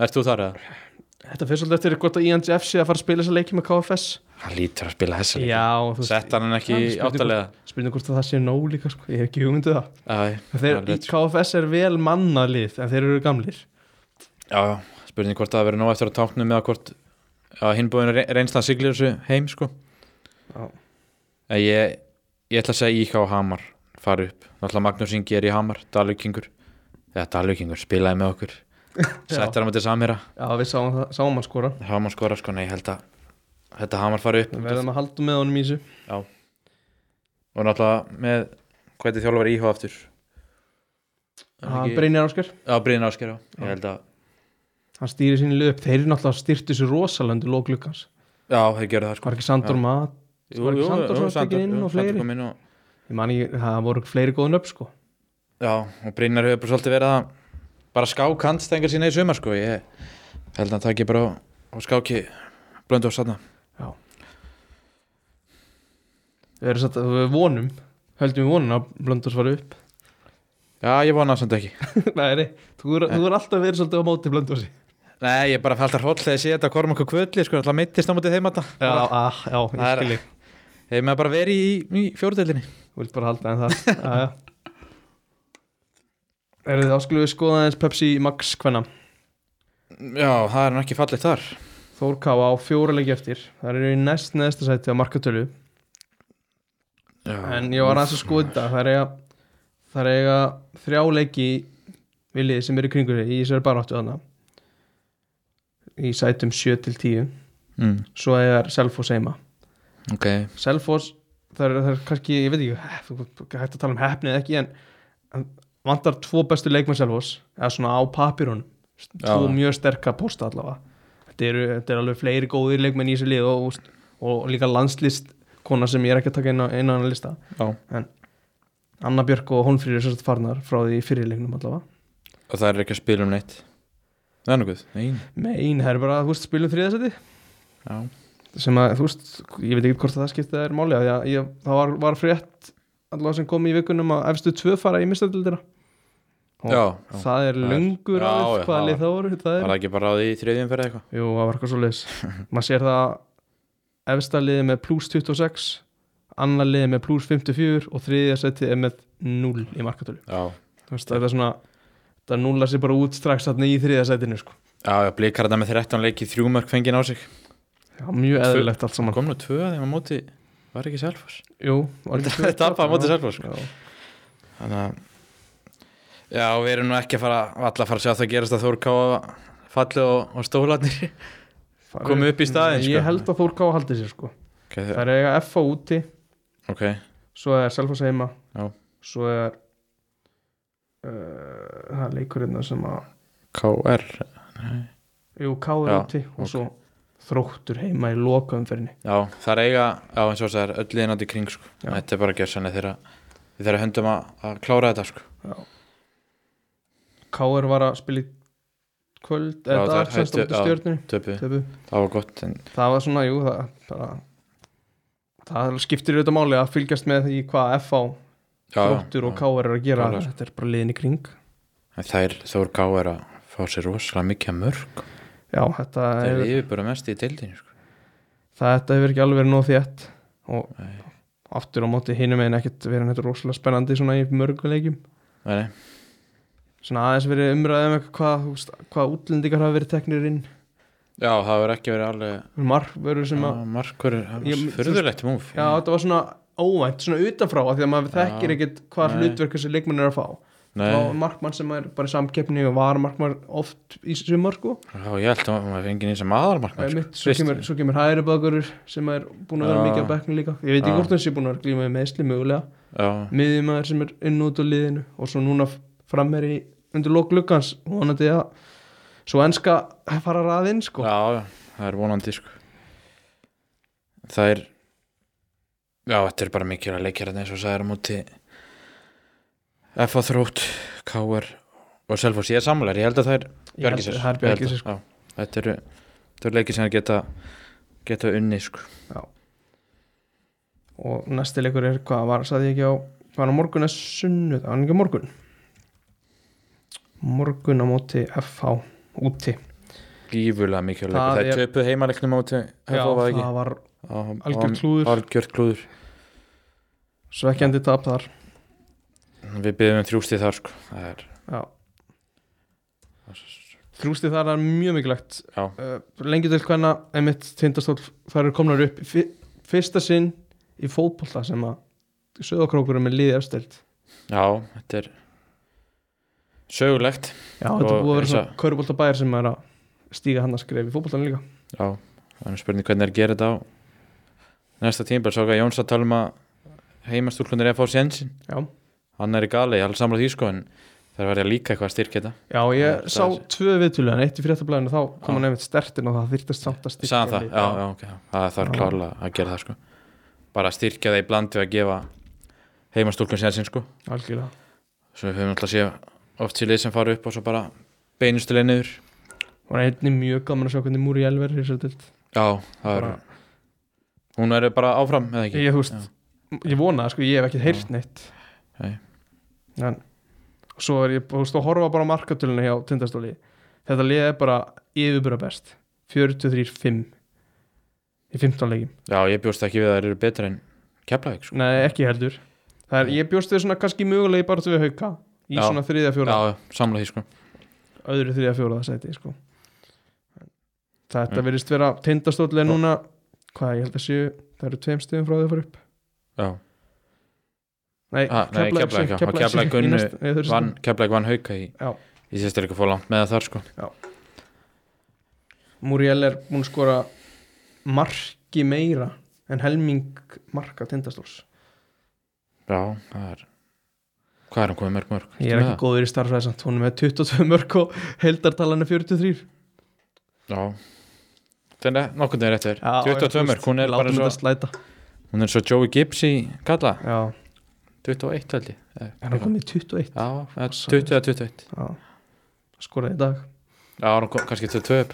Speaker 2: Ert þú þar eða?
Speaker 1: þetta fyrir svolítið eftir hvort að INGF sé að fara að spila þessa leiki með KFS
Speaker 2: Hann lítur að spila þessa leiki.
Speaker 1: já þú veist-
Speaker 2: Sett hann ekki
Speaker 1: Það er
Speaker 2: í
Speaker 1: spurning
Speaker 2: áttalega
Speaker 1: spurning hvort að það sé nóg líka sko. ég hef ekki hugmyndu það En
Speaker 2: Æ, það er
Speaker 1: þeir,
Speaker 2: rétt, sko.
Speaker 1: KFS er vel mannalið en þeir eru gamlir
Speaker 2: Já, já, spurning hvort það verður nóg eftir að táknum eða hvort að hinbúinu reynslan siglir þessu heim sko.
Speaker 1: Já.
Speaker 2: En Ég, ég ætla að segja IK og Hamar fara upp, náttúrulega Magnús Ingi er í Hamar Dalvíkingur, eða Dalvíkingur spilaði með okkur, settir hann með til samherja,
Speaker 1: já við sáum, það, sáum hann skora
Speaker 2: Hamar skora sko, nei, ég held að þetta Hamar fara upp
Speaker 1: við verðum að halda með honum í þessu
Speaker 2: og náttúrulega með hvað er þjálfur IH aftur
Speaker 1: hann Ah, Brynjar Áskar
Speaker 2: Já, Brynjar Ásker, já,
Speaker 1: Já.
Speaker 2: ég held að
Speaker 1: hann stýri sinni lið upp, þeir eru náttúrulega styrtu sér rosalöndu lóklukkans
Speaker 2: Já, þeir gerðu það sko
Speaker 1: var ekki Sandor
Speaker 2: Já.
Speaker 1: Mat var ekki Sandor sem var tekin inn og fleiri?
Speaker 2: kom inn og,
Speaker 1: ég man ekki, það voru fleiri góðin upp sko
Speaker 2: Já, og Brynjar hefur bara svolítið verið að bara skák handstengar sína í sumar sko ég held að hann taki bara og- og skáki blöndu á satna
Speaker 1: við, erum satt, við vonum, höldum við vonum að Blöndur svar upp
Speaker 2: Já, ég vona það samt ekki
Speaker 1: Nei, nei, þú er, þú er alltaf verið svolítið á móti Blöndusi
Speaker 2: Nei, ég er bara alltaf hróll þegar ég sé þetta að korma okkur kvöldi sko, alltaf meittist á mótið þeim að
Speaker 1: Já, ah, já, ég
Speaker 2: Það er-
Speaker 1: skilji
Speaker 2: Þeim er bara verið í, í fjóruðelinni
Speaker 1: Þú vilt bara halda en það Já, já Eruð þið áskulegu skoða aðeins Pepsi Max hvenna
Speaker 2: Já, það er nú ekki fallið þar
Speaker 1: Þór Káa á fjóra leiki eftir Það eru í næst neðsta sæti á markatölu
Speaker 2: Já.
Speaker 1: En ég var aðeins að sko- skoða þetta Það er eiga, það er eiga þrjá leiki Viljið sem eru í kringu sig Í þessari baráttu þarna Í sætum 7 til 10
Speaker 2: mm,
Speaker 1: Svo er Selfoss heima
Speaker 2: Ok,
Speaker 1: Selfoss það er, það er kannski, ég veit ekki eh, hef- hægt að tala um hefni eða ekki en, en vantar tvo bestu leikmenn Selfoss eða svona á papirun tvo
Speaker 2: Já.
Speaker 1: mjög sterka posta allavega þetta eru, þetta eru alveg fleiri góðir leikmenn í þessu lið og, og, og líka landslist kona sem ég er ekki að taka inn á einu annan lista
Speaker 2: já
Speaker 1: Anna Björk og Holmfríður er sérst farnar frá því fyrirleiknum allavega
Speaker 2: Og það er ekki að spila um neitt Það er nokkuð, nein
Speaker 1: með einu, það er bara, þú veist, spilum þriðasæti
Speaker 2: Já,
Speaker 1: sem að, þú veist, ég veit ekki hvort að það skipta er máli af því að ég, það var, var frétt allavega sem kom í vikunum að efstu tvö fara í mistaldildina Og
Speaker 2: já, já.
Speaker 1: það er
Speaker 2: það er-
Speaker 1: lungur
Speaker 2: Já,
Speaker 1: af
Speaker 2: já,
Speaker 1: hvaða
Speaker 2: það
Speaker 1: lið það voru það
Speaker 2: Var
Speaker 1: er,
Speaker 2: það ekki bara á því í þriðjum fyrir eitthvað
Speaker 1: jú, það var eitthvað svo leiðis maður sér það efsta liði með plus 26 annar liði með plus 54 og þriðja seti er með 0 í markatölu
Speaker 2: Já,
Speaker 1: þú veist, það er svona það núla sér bara út strax þarna í þriðja setinu sko.
Speaker 2: já, já blikar þetta með 13 leiki þrjúmörk fengið á sig
Speaker 1: já, mjög
Speaker 2: Tvö-
Speaker 1: eðlilegt allt
Speaker 2: Man
Speaker 1: saman
Speaker 2: kom nú tvö að þeim að móti Var ekki Selfoss
Speaker 1: jú, var ekki
Speaker 2: Þetta- tapaði á móti
Speaker 1: Já,
Speaker 2: Selfoss, sko.
Speaker 1: já.
Speaker 2: Þannig að Já, við erum nú ekki að fara Alla að fara að sjá það gerast að Þór Káa Falli og, og stólarnir
Speaker 1: Fari-
Speaker 2: Komu upp í staðinn,
Speaker 1: ég
Speaker 2: sko.
Speaker 1: held að Þór Ká haldi sér sko.
Speaker 2: okay,
Speaker 1: það er eiga F á úti
Speaker 2: ok,
Speaker 1: svo er Selfoss heima
Speaker 2: Já.
Speaker 1: svo er uh, það er leikurinn sem að
Speaker 2: KR
Speaker 1: Jú, Káur
Speaker 2: Já,
Speaker 1: úti og
Speaker 2: ok.
Speaker 1: svo þróttur heima í lokaumferðinni
Speaker 2: Já, það er eiga Já, eins og það er öll liðin átt í kring sko.
Speaker 1: Já.
Speaker 2: Þetta er bara að gera sannlega þegar Við þarfum höndum að, að klára þetta sko.
Speaker 1: Káur var að spila í kvöld
Speaker 2: Já,
Speaker 1: eða
Speaker 2: það
Speaker 1: dag
Speaker 2: er
Speaker 1: semst á
Speaker 2: hættu-
Speaker 1: móti
Speaker 2: já.
Speaker 1: stjörnunni
Speaker 2: Töpu,
Speaker 1: töpu.
Speaker 2: það var gott en,
Speaker 1: það var svona, jú það, bara, það skiptir auðvitað máli að fylgjast með í hvað FH
Speaker 2: já,
Speaker 1: þróttur og Káur er að gera
Speaker 2: Klálega, sko.
Speaker 1: þetta er bara liðin í kring
Speaker 2: En þær Þór Káa er að fá sér rosalega mikið að mörg
Speaker 1: Já, þetta
Speaker 2: Það er
Speaker 1: hefur,
Speaker 2: yfirbúra mest í deildinu sko.
Speaker 1: það, þetta hefur ekki alveg verið nóð þétt og
Speaker 2: Nei.
Speaker 1: aftur á móti hinum en ekkert verið þetta rosalega spennandi svona í mörguleikjum
Speaker 2: Nei, nei.
Speaker 1: svona aðeins verið umræðum hvað, þú veist, hvað útlendingar hafa verið teknir inn
Speaker 2: Já, það hefur ekki verið alveg
Speaker 1: markvörður sem að
Speaker 2: Já, Markur, það
Speaker 1: Ég-
Speaker 2: var fyrðulegt múf
Speaker 1: Já, þetta var svona óvænt, svona utanfrá af því að maður
Speaker 2: Mm. Já.
Speaker 1: þekkir ekkert hvað
Speaker 2: Nei.
Speaker 1: hlutverk þessi leikmenn er að fá
Speaker 2: Nei,
Speaker 1: Það var markmann sem er bara í samkeppni og var markmann oft í sumar sko
Speaker 2: já, ég held að maður fengi nýja sem aðalmarkmann
Speaker 1: Einmitt,
Speaker 2: sko.
Speaker 1: svo,
Speaker 2: Veist-
Speaker 1: kemur, svo kemur hægri bakurur sem er búin að vera
Speaker 2: Já.
Speaker 1: mikið á bekknu líka ég veit ekki
Speaker 2: Já.
Speaker 1: hvort hans er búin að vera glíma með meðsli mögulega
Speaker 2: Já,
Speaker 1: miðjumæður sem er inn út á liðinu og svo núna frammeri undir lok lukkans vonandi að svo enska fara raðinn sko
Speaker 2: Já, já, það er vonandi sko. Það er Já, þetta er bara mikilvæg leikjarðin eins og það er á móti F.A. Þrótt, K.R. og Selfoss, ég er sammálar, ég held að það er
Speaker 1: Ég held-
Speaker 2: Björgisir
Speaker 1: það er Bjargisir sko.
Speaker 2: Þetta eru þetta er leikir sem þeir geta geta unni sko.
Speaker 1: og næsti leikur er hvað var, sagði ég ekki á var á morgun að sunnu, það var hann ekki á morgun morgun á móti FH úti
Speaker 2: gífulega mikilvæg
Speaker 1: Það
Speaker 2: leikur,
Speaker 1: er-
Speaker 2: það er töpuð heimaleiknum á móti F.A.
Speaker 1: það
Speaker 2: var ekki
Speaker 1: var
Speaker 2: Já,
Speaker 1: algjört
Speaker 2: á-
Speaker 1: klúður.
Speaker 2: Algjört klúður
Speaker 1: svekkjandi tap þar
Speaker 2: Við byrjum um þrjústið þar sko. Það er
Speaker 1: já. þrjústi þar er mjög mikilvægt
Speaker 2: Já.
Speaker 1: uh, lengi til hvenna einmitt tindastól þær eru komnar upp í fi- fyrsta sinn í fótbolta sem að söðokrókur er með liði afstilt
Speaker 2: Já, þetta er sögulegt
Speaker 1: já, þetta er
Speaker 2: Og
Speaker 1: búið að vera
Speaker 2: eins
Speaker 1: svona köruboltabæðir sem er að stíga hann að skrifa í fótboltan líka
Speaker 2: Já, það er nú spurning hvernig er að gera þetta á næsta tímpel, svo ekki að Jóns að tala um að heimastúlkundir er að fá sénsinn
Speaker 1: já,
Speaker 2: hann er í gali, ég er alveg samlega því sko en Það verður líka eitthvað að styrkja þetta
Speaker 1: Já,
Speaker 2: Já,
Speaker 1: ég
Speaker 2: það
Speaker 1: sá
Speaker 2: er-
Speaker 1: tvö viðtölu en eitt í fréttablaðinu þá
Speaker 2: Já.
Speaker 1: kom hann einmitt stertin og það þyrtast samt að styrkja
Speaker 2: Sæðan það,
Speaker 1: liðið.
Speaker 2: já, já, ok já. Það það er
Speaker 1: Já.
Speaker 2: klárlega að gera það sko Bara að styrkja það í bland við að gefa heimastúlkum sérsinn sko
Speaker 1: Algjörlega
Speaker 2: Svo við höfum alltaf séð oft sér lið sem fara upp og svo bara beinustilega niður
Speaker 1: og einnig mjög gaman að sjá hvernig Múri Elver er í þessari deild.
Speaker 2: Já, það er
Speaker 1: Bara-
Speaker 2: Hún er bara áfram, eða ekki?
Speaker 1: ég, húst, ég vona það sko, ég hef ekki heyrt neitt
Speaker 2: Nei.
Speaker 1: en svo er ég húst, að horfa bara á markatöluna hjá tindastóli þetta liða er bara yfirbúra best 43-5 í 15 leikim,
Speaker 2: Já, ég bjóst ekki við að það eru betra en Keflavík sko
Speaker 1: nei ekki heldur það er,
Speaker 2: Nei.
Speaker 1: ég bjóst þau svona kannski mögulegi bara til við hauka í
Speaker 2: Já.
Speaker 1: svona þriðja
Speaker 2: Já,
Speaker 1: fjóra,
Speaker 2: já, samla því sko
Speaker 1: öðru þriðja fjóra það sæti sko þetta
Speaker 2: Mm.
Speaker 1: virðist vera tindastóli núna hvað ég held að séu, það eru tveim stöðum frá því að fara upp
Speaker 2: Já,
Speaker 1: Nei,
Speaker 2: Ah, nei, Keflavík, já. Og Keflavík
Speaker 1: í
Speaker 2: unnu-
Speaker 1: næst- nei, þau eru
Speaker 2: vann, Keflavík vann hauka í
Speaker 1: Já.
Speaker 2: Ég sést er ekki að fóra langt með það þar sko
Speaker 1: Muriel er búin að skora marki meira en helming marka tindastóls
Speaker 2: Já, það er Hvað er hann komið mörg mörg?
Speaker 1: ég er ekki góður í starfræði samt, hún er með 22 mörg og heldartalan er 43
Speaker 2: Já Þannig að nokkurn veginn rétt er 22 mörg, hún er bara
Speaker 1: svo
Speaker 2: svo
Speaker 1: slæta
Speaker 2: Hún er svo Joey Gibbs í kalla
Speaker 1: já,
Speaker 2: 21 held ég Eh,
Speaker 1: er hann komið í 21
Speaker 2: Já, eða 20 eða 21
Speaker 1: já. skoraði í dag
Speaker 2: Já, hún kom kannski 22 upp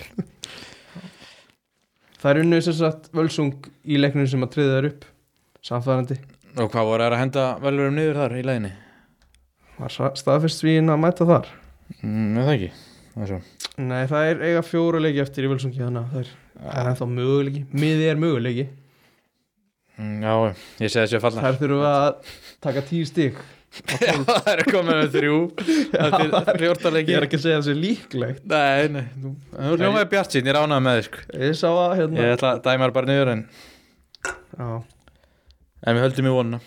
Speaker 1: það er unnu sem sagt völsung í leiknum sem að triða þær upp samfærandi,
Speaker 2: Og hvað voru þær að henda velurum niður þar í læginni?
Speaker 1: var sa- staðfest við að mæta þar
Speaker 2: Mm, er það ekki Það er svo
Speaker 1: nei, það er eiga fjóra leiki eftir í völsungi þannig að það er, það er ennþá möguleiki miði er möguleiki
Speaker 2: Mm, Já, ég segi þessi að falla
Speaker 1: Þær þurfum við að taka tíu stík
Speaker 2: Það er komið með þrjú Eftir 14
Speaker 1: Ég
Speaker 2: leiki
Speaker 1: er ekki að segja þessi líklegt
Speaker 2: Nei, nei Nú nú er ljómaði bjart sín, ég ránaði með þið sko
Speaker 1: Ég sá að hérna
Speaker 2: Ég ætla að dæma þær bara niður en
Speaker 1: Já,
Speaker 2: En við höldum í vonuna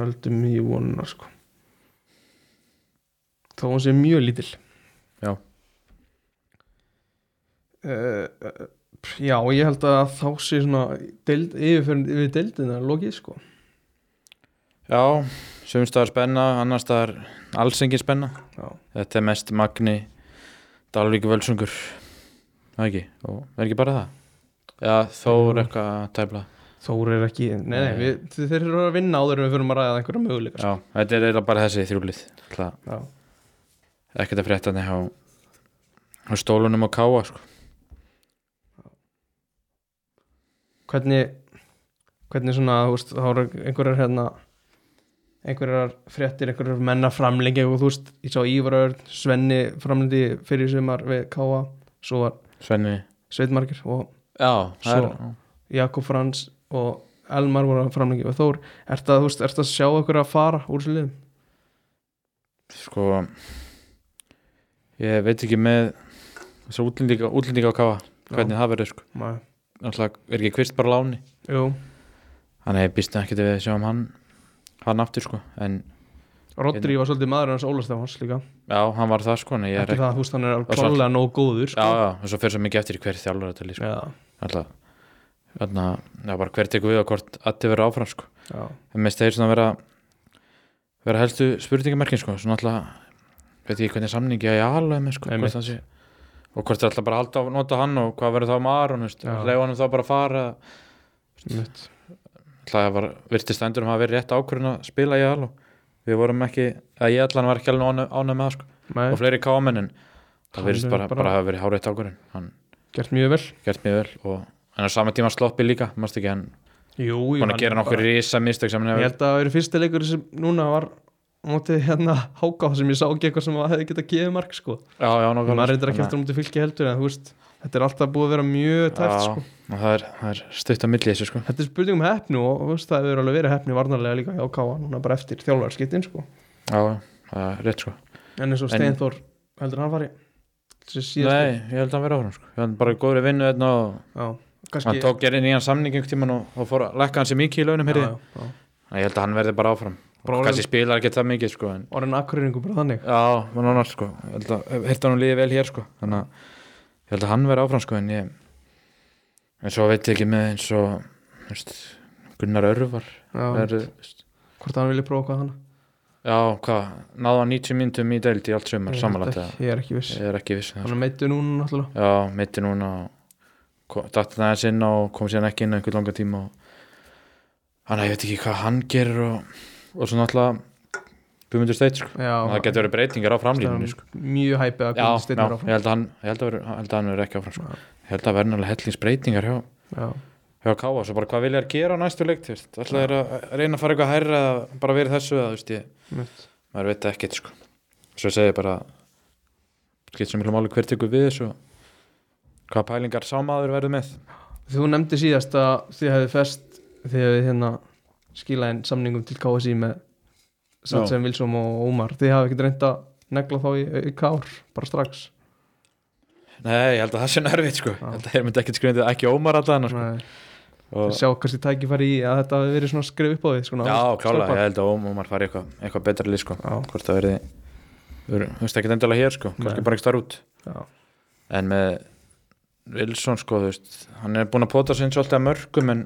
Speaker 1: höldum í vonuna sko Þó hún sé mjög lítil
Speaker 2: Já.
Speaker 1: Eh, eh, Já, ég held að þá sé svona deild, yfirferðin yfir deildina lokið sko
Speaker 2: Já, sumstaðar spenna, annarstaðar alls engin spenna
Speaker 1: Já,
Speaker 2: Þetta er mest magni Dalvík Völsungur Það ekki, og er ekki bara það Já, þó er eitthvað að tæpla
Speaker 1: Þór er ekki Nei, nei,
Speaker 2: Nei.
Speaker 1: við, þeir eru að vinna áður en við fyrir að ræða einhverja möguleika sko.
Speaker 2: Já, þetta er eiginlega bara þessi þrjúlið Það
Speaker 1: Já.
Speaker 2: er ekkert að frétta nefn á, á stólunum og káa sko.
Speaker 1: hvernig hvernig svona, þú veist, þá eru einhverjar hérna einhverjar fréttir, einhverjar menna framlengi og þú veist, ég sá Ívarörn, Svenni framlendi fyrir sumar við Káa svo var
Speaker 2: Svenni
Speaker 1: Sveitmarkir og
Speaker 2: Já, það er,
Speaker 1: Jakob Frans og Elmar voru framlengi og Þór ert að, þú veist, ert að sjá einhverja að fara úr þessu liðum?
Speaker 2: sko Ég veit ekki með þessar útlendinga, útlendinga á káa hvernig það verður sko.
Speaker 1: Nei.
Speaker 2: Alltaf er ekki kvist bara á láni
Speaker 1: Jú,
Speaker 2: Þannig ég býst ekki til við sjáum hann hann aftur sko en
Speaker 1: Rodri var svolítið maður hans Óla Stefáns líka,
Speaker 2: já, hann var það sko en ég er
Speaker 1: ekki
Speaker 2: ekki
Speaker 1: það, þú veist, hann er alveg
Speaker 2: Og svo-
Speaker 1: klálega nóg góður, sko.
Speaker 2: Já, já, og svo fyrir svo mikið eftir í hver þjálfur þetta líka sko.
Speaker 1: Já,
Speaker 2: Alltaf Þannig að já, bara hver tekur við og hvort allir verður áfram sko
Speaker 1: já,
Speaker 2: en mest þeir svona vera vera helstu spurningamerkin sko svona alltaf, veit ekki hvernig samningi að ég alveg með sko
Speaker 1: Einmitt.
Speaker 2: hvort hann sé, og hvort þeir alltaf bara halda á nota hann og hvað verður þá með Aron veist,
Speaker 1: Já.
Speaker 2: leiða hann þá bara að fara
Speaker 1: mitt
Speaker 2: alltaf að var, virtist endur um að vera rétt ákvörðin að spila ég alveg við vorum ekki, að ég allan var ekki alveg ánæg með það sko
Speaker 1: Nei,
Speaker 2: og fleiri kámen en það
Speaker 1: Hann
Speaker 2: virðist
Speaker 1: er
Speaker 2: bara,
Speaker 1: bara-
Speaker 2: bara að hafa verið hárétt ákvörðin hann
Speaker 1: gert mjög vel
Speaker 2: gert mér vel og en á sama tíma sloppi líka, mást ekki hann
Speaker 1: Jú, jú,
Speaker 2: búin
Speaker 1: hann
Speaker 2: að gera
Speaker 1: er bara-
Speaker 2: nokkur risa mistök sem hann
Speaker 1: Ég
Speaker 2: hefur
Speaker 1: held að það eru fyrsti leikur sem núna var á móti hérna háká sem ég sá ekki eitthvað sem að hefði getað gefið mark sko.
Speaker 2: já, já, nákvæmlega,
Speaker 1: maður reyndir
Speaker 2: þannig
Speaker 1: ekki
Speaker 2: að-
Speaker 1: eftir á móti fylki heldur en þú veist, þetta er alltaf búið að vera mjög tæft
Speaker 2: Já,
Speaker 1: sko.
Speaker 2: og það er, það er stutt á milli þessu sko
Speaker 1: þetta er spurning um hefnu og þú veist, það hefur alveg verið hefni varnarlega líka hjá háká núna bara eftir þjálfarskittin sko.
Speaker 2: Já, já, það er rétt sko
Speaker 1: en eins og
Speaker 2: En-
Speaker 1: Steinþór heldur hann fari þessi
Speaker 2: Nei,
Speaker 1: síðast
Speaker 2: ég held að hann vera áfram sko Ég held bara í góðri vinnu þarna og hann
Speaker 1: kannski
Speaker 2: tók gerði nýjan samning einhvern tímann og, og fór að lækka hans í mikið í launum
Speaker 1: já,
Speaker 2: hérði
Speaker 1: já, já.
Speaker 2: Ég held að hann verði bara áfram
Speaker 1: Bara
Speaker 2: Kanski spilar ekki það mikið sko en,
Speaker 1: orðin akkurýringu bara þannig
Speaker 2: Já, var nánar sko Ég held að hérta hann líði vel hér sko Þannig að ég held að hann verði áfram sko en ég En svo veit ég ekki með eins og þú veist, Gunnar Örvar
Speaker 1: já.
Speaker 2: er, þú veist,
Speaker 1: hvort hann vilja prófa hvað hann
Speaker 2: Já, já, hvað, náða 90 myndum í deild í allt sömur,
Speaker 1: Ég
Speaker 2: samanlagt
Speaker 1: veit
Speaker 2: eða?
Speaker 1: ekki- Ég er ekki viss
Speaker 2: ég er ekki viss um það,
Speaker 1: Hann er meittu núna náttúrulega
Speaker 2: sko. já, mitti núna og dætti það aðeins inn á og kom síðan ekki inn á einhvern langan tíma og hann, ég veit ekki hvað hann gerir og, og svo náttúrulega Guðmundur Steit, sko
Speaker 1: Já,
Speaker 2: það getur verið breytingar á framlýninu,
Speaker 1: hann-
Speaker 2: sko
Speaker 1: Mjög hæpið að
Speaker 2: já,
Speaker 1: Guðmundur
Speaker 2: já,
Speaker 1: Steinn er áfram.
Speaker 2: ég held að hann ég held að verður- ég held að hann verður ekki áfram, sko ég held að verður náttúrulega hellingsbreytingar hjá
Speaker 1: Já,
Speaker 2: hjá Káa, svo bara hvað vilja þér gera á næstu leik þú veist, ætla þér að reyna að fara eitthvað hærra eða bara verið þessu eða, þú veist, ég,
Speaker 1: mitt
Speaker 2: maður veit það ekkert sko. svo segi ég bara skipt sem miklu máli hvert ykkur við þessu og hvað pælingar sámaður verður með
Speaker 1: Þú nefndi síðast að þið hefði fest þið hefði hérna skilað inn samningum til KSI með Satsen, Vilsum og Ómar þið hafi ekkert reynd að negla þá í, í kár bara strax
Speaker 2: nei, ég held að það sé nervið sko. ég held að þeir myndi ekkert skrifin ekki Ómar allan sko.
Speaker 1: Nei,
Speaker 2: og,
Speaker 1: sjá kannski tækifæri í að þetta hafi verið svona skrif upp á því svona,
Speaker 2: já, klálega,
Speaker 1: strákar.
Speaker 2: ég held að Ómar fari eitthvað, eitthvað betra lið sko.
Speaker 1: Já.
Speaker 2: hvort það verði þú veist ekki endalega hér, sko.
Speaker 1: Nei.
Speaker 2: kannski bara ekki starf út
Speaker 1: Já.
Speaker 2: en með Wilson sko þú veist, hann er búin að pota sér svolítið að mörgum en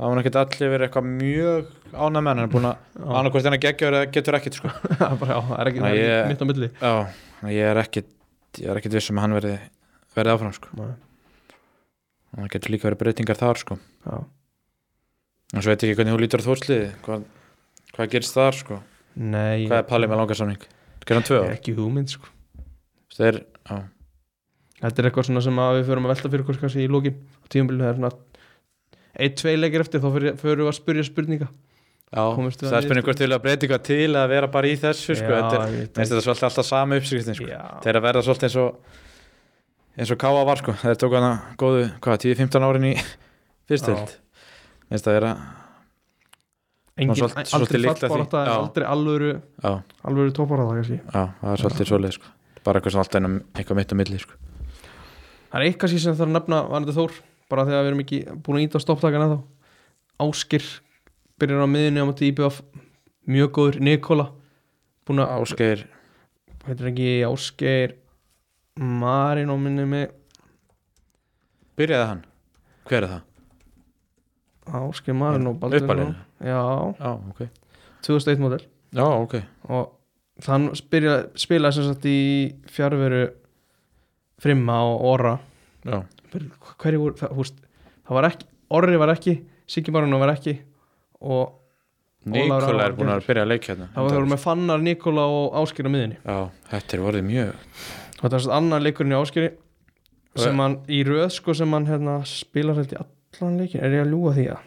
Speaker 2: það var ekkert allir verið eitthvað mjög ánæg með hann, hann er búin
Speaker 1: Já.
Speaker 2: að annarkvæmst hann að geggjör eða getur ekkert sko já,
Speaker 1: Það er bara, já, það er ekki
Speaker 2: Nei,
Speaker 1: það er
Speaker 2: ég-
Speaker 1: mitt á milli
Speaker 2: þannig að ég er ekkert ég er ekkert viss um að hann verði verði áfram sko,
Speaker 1: Nei,
Speaker 2: þannig að það getur líka verið breytingar þar sko,
Speaker 1: já.
Speaker 2: en svo veit ég ekki hvernig þú lítur á þórsliði, hvað, hvað gerist þar sko,
Speaker 1: Nei
Speaker 2: hvað er palið með langarsamning gerðan tvö
Speaker 1: ég hef
Speaker 2: ár,
Speaker 1: ekki hugmynd sko.
Speaker 2: það er já,
Speaker 1: Þetta er eitthvað svona sem að við förum að velta fyrir okkur kannski í lókin á tíumbilinu það er svona eitt, tvei leikir eftir þá fyrir- förum við að spyrja spurninga
Speaker 2: já
Speaker 1: Komumst við
Speaker 2: það
Speaker 1: að
Speaker 2: er spurning hvort til að breytinga til að vera bara í þessu sko,
Speaker 1: Já,
Speaker 2: þetta er,
Speaker 1: ég veit
Speaker 2: mér finnst þetta svolítið alltaf sama uppskriftin sko.
Speaker 1: Já.
Speaker 2: þeir að verða svolítið eins og eins og Káa var sko þeir tók hana góðu, hvað, 10-15 árin í
Speaker 1: Já.
Speaker 2: fyrstöld minnst að vera,
Speaker 1: Engin,
Speaker 2: Svona svolítið-
Speaker 1: aldrei
Speaker 2: svolítið líkt að því.
Speaker 1: fallbarátta
Speaker 2: Já.
Speaker 1: er aldrei alvöru,
Speaker 2: já,
Speaker 1: alvöru topparátta kannski.
Speaker 2: já, það er svolítið svolítið sko bara eitthvað svona alltaf einum, eitthvað mitt á milli sko
Speaker 1: Það er eitt kannski sem þarf að nefna varandi Þór, bara þegar við erum ekki búin að íta á stopptakana þá Áskir byrjar á miðunni á móti IBF mjög góður, Nikola búin að,
Speaker 2: Ásgeir,
Speaker 1: heitir ekki Áskir Marin á minni með
Speaker 2: byrjaði hann? Hver er það?
Speaker 1: Áskir Marin og Baldur
Speaker 2: Uppalinn?
Speaker 1: Já,
Speaker 2: Já, ok
Speaker 1: 2001 model
Speaker 2: Já, ok,
Speaker 1: og þann spila, spilaði sem sagt í fjárveru Frimma og Óra
Speaker 2: já,
Speaker 1: hverju voru það, húst, það var ekki Orri var ekki, Siggi Marino var ekki og
Speaker 2: Nikola
Speaker 1: Árni
Speaker 2: er búin að byrja að leikja hérna
Speaker 1: það var það voru með Fannar, Nikola og Áskir á miðinni
Speaker 2: Já, þetta er orðið mjög
Speaker 1: og það er svona annar leikurinn í Áskiri sem hann í röð sko sem hann hérna, spilar held í allan leikin er ég að ljúga því að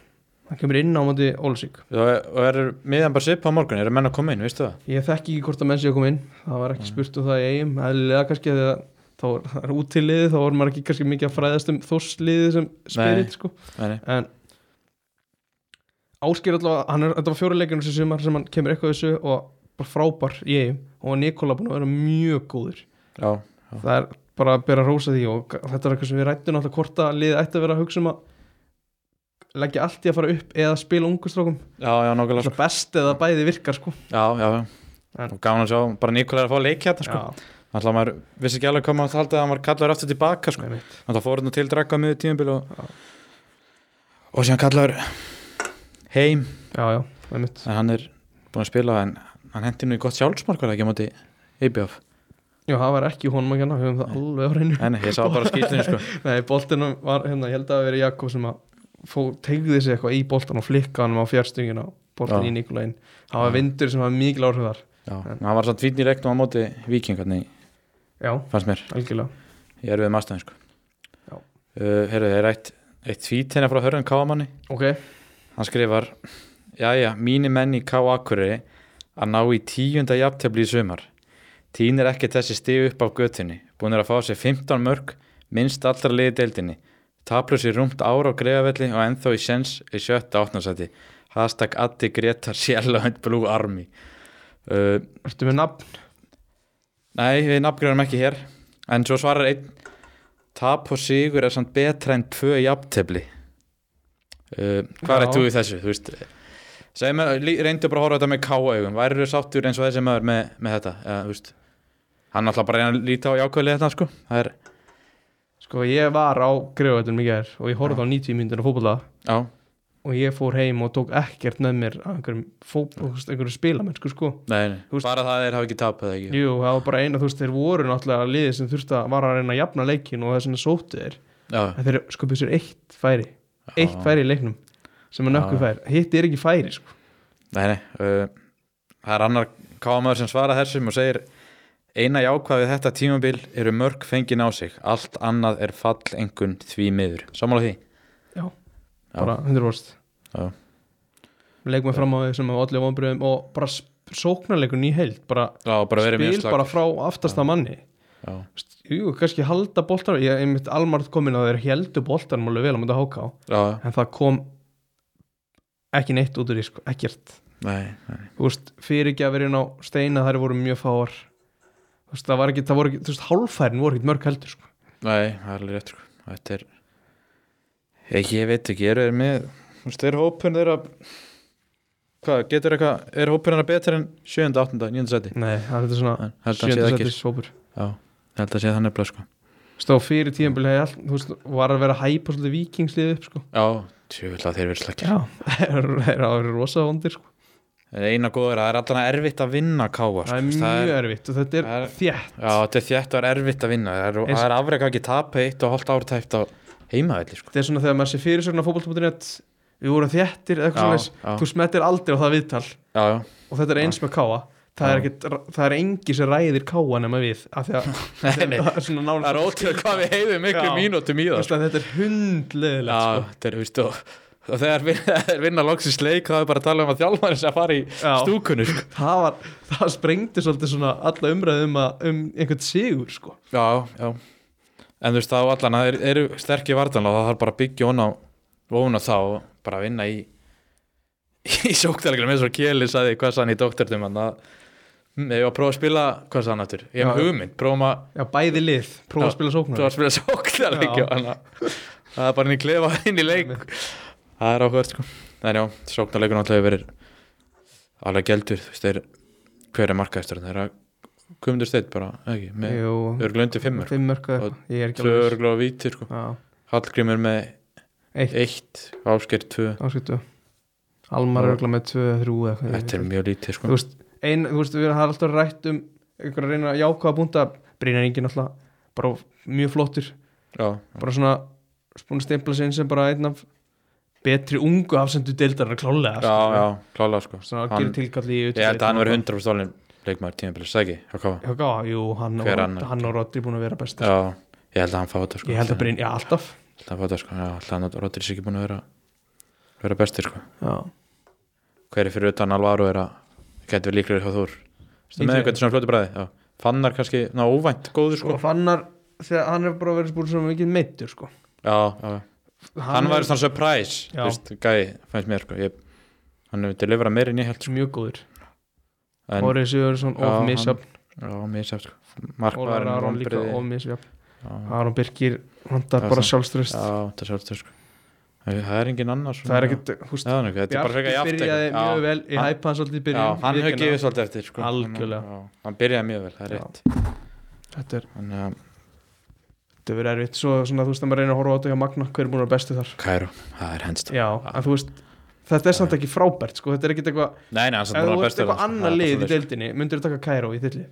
Speaker 1: hann kemur inn á móti Ólusík
Speaker 2: Og er- og er miðan bara sipp á morgun, eru menn að koma inn, veistu það?
Speaker 1: ég þekki ekki hvort að menn sé að koma inn það var ekki spurt um það í eigum eðlilega kannski þegar þá er- það er út til liði þá voru maður ekki kannski mikið að fræðast um þórsliði sem
Speaker 2: Nei.
Speaker 1: spirit sko
Speaker 2: Nei, nei,
Speaker 1: en Ásker allavega, hann er, þetta var fjóri leikinu sem sumar sem hann kemur eitthvað þessu og bara frábær í eigum og Nikola búin að vera mjög góður
Speaker 2: já,
Speaker 1: það er bara að bera að rósa því og þetta er eitthvað sem við rættum alltaf hvort að liðið ætti að vera að hugsa um að leggja allt í að fara upp eða spila ungu strákum
Speaker 2: já, já, nákvæmlega sko.
Speaker 1: það best eða bæði virkar sko
Speaker 2: Já, já, já
Speaker 1: En-
Speaker 2: Og Gaman að sjá, bara Nikola er að fá að leikja hérna sko
Speaker 1: Já,
Speaker 2: Þannig að maður vissi ekki alveg hvað maður haldið að hann var kallaður aftur tilbaka sko.
Speaker 1: einmitt.
Speaker 2: Þannig að fór hann til drakka miður tímabil og, og síðan kallaður heim
Speaker 1: já, já, einmitt
Speaker 2: en hann er búin að spila en hann hendi nú í gott sjálfsmark var það ekki á móti IBF
Speaker 1: já, það var ekki honum að kenna, við höfum það alveg á reynu
Speaker 2: en ég sá bara skýtinu sko.
Speaker 1: Nei, boltinum var hérna, ég held að það hafi verið Jakob sem að fó, tegði sig eitthvað í boltan og flikka hann á fjärstungina og boltin
Speaker 2: Já.
Speaker 1: í Nikolæn það var vindur sem var mikil áhrif þar
Speaker 2: Já, en hann var samt fínn í leiknum á móti vikingarni
Speaker 1: Já,
Speaker 2: fannst mér
Speaker 1: algjörlega
Speaker 2: ég er við maðurstæðin sko.
Speaker 1: Já.
Speaker 2: uh, Herru, það er eitt, eitt fít hérna frá Hörðan Káamanni
Speaker 1: Ok,
Speaker 2: hann skrifar Jæja, mínir menn í K.A. Akureyri að ná í tíunda jafntefli í sumar Tínir ekki þessi stig upp af götunni Búnir að fá sér 15 mörg minnst allra liði deildinni Taplur sér rúmt ára á greiðavelli og ennþá í sens í sjötta átnarsæti Hashtag Addi Greta Sjælönd Blue Army uh,
Speaker 1: ertu með nafn?
Speaker 2: Nei, við nafngræðum ekki hér En svo svarar einn Tap og sigur er samt betra en tvö jafntefli uh,
Speaker 1: Já.
Speaker 2: Hvað er þú í þessu? Þú veist Segðu mér, lí- reyndu bara að horfa á þetta með káaugum Væri þú sáttur eins og þessi maður með, með þetta ja, þú veist Hann alltaf bara að reyna að líta á jákvæðlega þetta sko Það er,
Speaker 1: Sko, ég var á greiðvættunum í gær og ég horfði á 90 myndir á fótbolta
Speaker 2: já,
Speaker 1: og ég fór heim og tók ekkert með mér af einhverjum, fótbol- þú veist, einhverjum spilamennsku sko.
Speaker 2: Nei, nei,
Speaker 1: Þú veist-
Speaker 2: bara það að þeir hafa ekki tapað eða ekki
Speaker 1: Jú, það var bara eina, þú veist, þeir voru náttúrulega liðið sem þurfti að var að reyna að jafna leikin og þess vegna sóttu þeir
Speaker 2: Já,
Speaker 1: en þeir skupu sér eitt færi eitt
Speaker 2: Já.
Speaker 1: færi í leiknum sem að nökku
Speaker 2: Já.
Speaker 1: fær, hitt er ekki færi sko.
Speaker 2: Nei, nei, uh, það er annar kámaður sem svarar þessum og segir Eina jákvað við þetta tímabil eru mörg fengin á sig, allt annað er fall engun því miður. Sammála því?
Speaker 1: já,
Speaker 2: Já.
Speaker 1: bara 100%
Speaker 2: Já.
Speaker 1: leikum við fram á þau sem að allir vonbröðum og bara sp- sóknarleikun í heild bara
Speaker 2: Já, bara verið mjög
Speaker 1: spil
Speaker 2: slag.
Speaker 1: bara frá aftasta manni
Speaker 2: Já,
Speaker 1: Vist, jú, kannski halda boltan ég er mitt almarð komin að þeir heldu boltan mjög vel á mynda háká,
Speaker 2: já,
Speaker 1: en það kom ekki neitt út úr því sko, ekkert
Speaker 2: nei, nei.
Speaker 1: þú veist, fyrirgjafirinn á steina þær voru mjög fáar þú veist, það var ekki, það voru ekki, þú veist, hálfærin voru ekki mörg heldur, sko,
Speaker 2: Nei, það er alveg rétt sko. Þetta er ég, ég veit ekki, eru þeir með þú veist, er hópurinn þeirra hvað, getur eitthvað, er hópurinn þeirra betur en 7. 8. 9. seti?
Speaker 1: nei, það er þetta svona
Speaker 2: Held að sé það ekki
Speaker 1: sjöndarsættis hópur
Speaker 2: Já, ég held að sé það nefnilega sko.
Speaker 1: stóð fyrir tíðanbili, þú veist, var að vera að hæpa svolítið vikingslið upp, sko
Speaker 2: Já, tjóðvill að þeir verið slakir
Speaker 1: já, það eru rosa vondir, sko
Speaker 2: Eina góður, það er allan erfitt að vinna káa
Speaker 1: það er mjög erfitt og þetta
Speaker 2: það
Speaker 1: er
Speaker 2: Sko, er-
Speaker 1: þjætt
Speaker 2: Já, þetta er þjætt og er erfitt að vinna Það er,
Speaker 1: Eins-
Speaker 2: það er afreka ekki tapa eitt og hálft ártæft á heimavelli sko.
Speaker 1: þetta er svona þegar maður sé fyrirsögn á fótbolta.net við vorum þjættir eða eitthvað
Speaker 2: Já,
Speaker 1: svona
Speaker 2: já,
Speaker 1: þú smettir aldrei á það viðtal
Speaker 2: já, já.
Speaker 1: og þetta er eins með káa það er,
Speaker 2: Já.
Speaker 1: ekkit, það er engi sem ræðir káa nema við af því að
Speaker 2: Nei, nei.
Speaker 1: það er svona
Speaker 2: Það er
Speaker 1: nála
Speaker 2: ótrúð hvað við heiðum ykkur
Speaker 1: Já.
Speaker 2: mínútum í það sko.
Speaker 1: þetta er hundleðilegt
Speaker 2: Já,
Speaker 1: sko.
Speaker 2: þetta er, veistu, og, og þegar vin- þegar vinna loksins leik þá er bara að tala um að þjálfari sé að fara í
Speaker 1: Já.
Speaker 2: stúkunni sko.
Speaker 1: það, var, það sprengdi svolítið svona alla umræðum um einhvern sigur sko.
Speaker 2: Já, já En þú veist, þá allan, það eru- eru sterkir vartanlega og það þarf bara að byggja hon á ofuna þá og bara að vinna í í sóktalegrum eins og Kjeli sagði, hvað sann í doktortum hann að ef ég var að prófa að spila, hvað sann aftur ég hef
Speaker 1: Já,
Speaker 2: með
Speaker 1: já.
Speaker 2: hugmynd, prófum að,
Speaker 1: já, bæði lið, prófa að
Speaker 2: Já,
Speaker 1: spila sóknar
Speaker 2: prófa að spila sóktalegju
Speaker 1: Já.
Speaker 2: það er bara henni klefa inn í leik Það er áhverð sko En já, sóknarleikur náttúrulega hefur verið alveg gældur, þú veist, þeir hver er markaðistur, þeir eru að kumdur steitt bara, eða ekki, með
Speaker 1: Jú,
Speaker 2: örglu undir fimmur,
Speaker 1: fimm mörg eða
Speaker 2: Og
Speaker 1: eitthvað. ég er ekki
Speaker 2: tvö
Speaker 1: alveg viss.
Speaker 2: örglu á vítir sko.
Speaker 1: Já,
Speaker 2: Hallgrímur með
Speaker 1: Eitt.
Speaker 2: eitt ásker tvö,
Speaker 1: áskiptu Almar
Speaker 2: Já.
Speaker 1: örgla með tvö, þrjú eða eitthvað.
Speaker 2: þetta er mjög lítið
Speaker 1: þú
Speaker 2: sko.
Speaker 1: veist, ein, þú veist, við erum alltaf rætt um einhverja reyna að jákvæða búnda Brynjar Ingi náttúrulega bara mjög flottur,
Speaker 2: Já,
Speaker 1: bara svona búin að stempla sig inn sem bara einn af betri ungu afsendu deildar klálega,
Speaker 2: já,
Speaker 1: sko.
Speaker 2: já, klálega sko
Speaker 1: svona að
Speaker 2: Hann-
Speaker 1: gera tilkalli í
Speaker 2: Ég held að hann verið 100% stólinn leikmaður tímabilið, sagði ekki, hvað
Speaker 1: Já, gá, jú, hann
Speaker 2: Hver
Speaker 1: og,
Speaker 2: annar?
Speaker 1: hann og Rodri búin að vera bestir
Speaker 2: Já, ég held að hann fá þetta sko
Speaker 1: Ég held að Brynjar, já, alltaf
Speaker 2: Ég held að hann fá þetta sko, já, alltaf hann og Rodri sé ekki búin að vera vera bestir sko
Speaker 1: já.
Speaker 2: hver er fyrir utan Alvaro er að getur við líklega hjá Þór Ertu með
Speaker 1: Líklegri?
Speaker 2: einhvern svona fljótu bræði já. fannar kannski, ná óvænt, góður sko
Speaker 1: Og Fannar, þegar hann er bara verið búin svona mikið meittur, sko
Speaker 2: já, já. hann var svona surprise
Speaker 1: Já.
Speaker 2: þú veist, gæði, fannst mér sko ég, hann hefur deliverað meir en ég held sko.
Speaker 1: er mjög góður
Speaker 2: en,
Speaker 1: Orri Sigurðsson,
Speaker 2: Já,
Speaker 1: of
Speaker 2: hann-
Speaker 1: misjafn
Speaker 2: já, mér sef sko
Speaker 1: Ólar
Speaker 2: markmaðurinn
Speaker 1: Aron líka,
Speaker 2: vonbrigði.
Speaker 1: of misjafn
Speaker 2: já,
Speaker 1: Aron Birkir, hann
Speaker 2: Það
Speaker 1: þar
Speaker 2: er
Speaker 1: bara
Speaker 2: svona-
Speaker 1: sjálfströst
Speaker 2: já, það er sjálfstöð sko það það er engin annar
Speaker 1: það er ekkert, þú veist
Speaker 2: já, nú, þetta er bara frekar
Speaker 1: Bjarki
Speaker 2: jafnt
Speaker 1: byrjaði mjög
Speaker 2: eitthvað.
Speaker 1: vel, ég
Speaker 2: hann-
Speaker 1: hæpa hann svolítið í
Speaker 2: já, já,
Speaker 1: byrjun
Speaker 2: hann
Speaker 1: ég
Speaker 2: hefur
Speaker 1: kenna-
Speaker 2: gefið svolítið eftir sko
Speaker 1: Algjörlega.
Speaker 2: hann, já, hann byrjaði mjög vel, það er
Speaker 1: Já.
Speaker 2: rétt
Speaker 1: þetta er,
Speaker 2: hann, um,
Speaker 1: þetta verður erfitt svo svona, þú veist að maður reynir að horfa á þetta hjá Magna hver er búin að vera bestu þar
Speaker 2: Kæru, það er henst
Speaker 1: já, en þú veist, þetta er samt ekki frábært sko, þetta er ekkert eitthvað,
Speaker 2: Nei, nei, hann
Speaker 1: ef
Speaker 2: samt
Speaker 1: þú
Speaker 2: bara
Speaker 1: veist
Speaker 2: bestur
Speaker 1: eitthvað annað lið í deildinni myndur þú taka Kairó í þilli,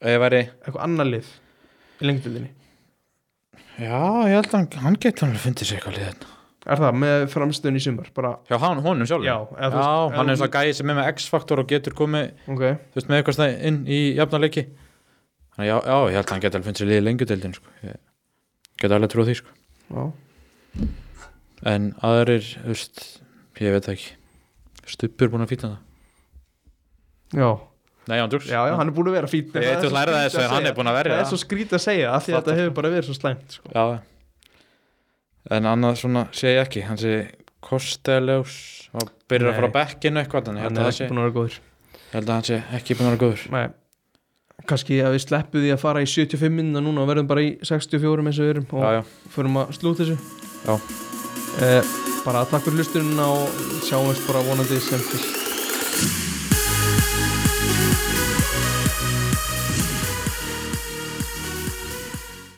Speaker 2: Ég væri,
Speaker 1: eitthvað annað lið í lengdeldinni,
Speaker 2: já, ég held að hann, hann geti hann fundið sér eitthvað lið hérna.
Speaker 1: er það með framstöðun í sumar, bara,
Speaker 2: Hjá hann, honum sjálf
Speaker 1: já, eða þú veist,
Speaker 2: hann er
Speaker 1: ef
Speaker 2: svona gæði sem er með X-faktor og getur komið,
Speaker 1: þú- ok,
Speaker 2: þú veist, með eitthvað svona inn í jafnarleiki Þannig, já, já, ég held að hann geti alveg fundið sér lið í lengjudeildin, sko Ég geti alveg trúið því, sko
Speaker 1: já,
Speaker 2: En aðrir, þú veist, ég veit það ekki Stubbur búin að fýta það
Speaker 1: já
Speaker 2: Nei, hann djóks
Speaker 1: já, já, hann er búin að vera fín
Speaker 2: Ég veit þú lærið þessu en hann er búin að verja
Speaker 1: það er svo skrítið að segja af því að þetta hefur bara verið svo slæmt sko.
Speaker 2: Já En annað svona sé ég ekki Hann sé Kosteljós og byrjar að
Speaker 1: Nei.
Speaker 2: fara á bekkinu eitthvað en ég
Speaker 1: hann er
Speaker 2: held, að það
Speaker 1: ekki
Speaker 2: sé,
Speaker 1: búin að vera góður
Speaker 2: ég held að hann sé ekki búin að vera góður
Speaker 1: Nei. kannski að við sleppu því að fara í 75 minna núna og verðum bara í 64 eins og við erum og
Speaker 2: Já, já,
Speaker 1: förum að slúta þessu
Speaker 2: Já.
Speaker 1: eh, bara takk fyrir hlustunina og sjáumst bara vonandi sem fyrst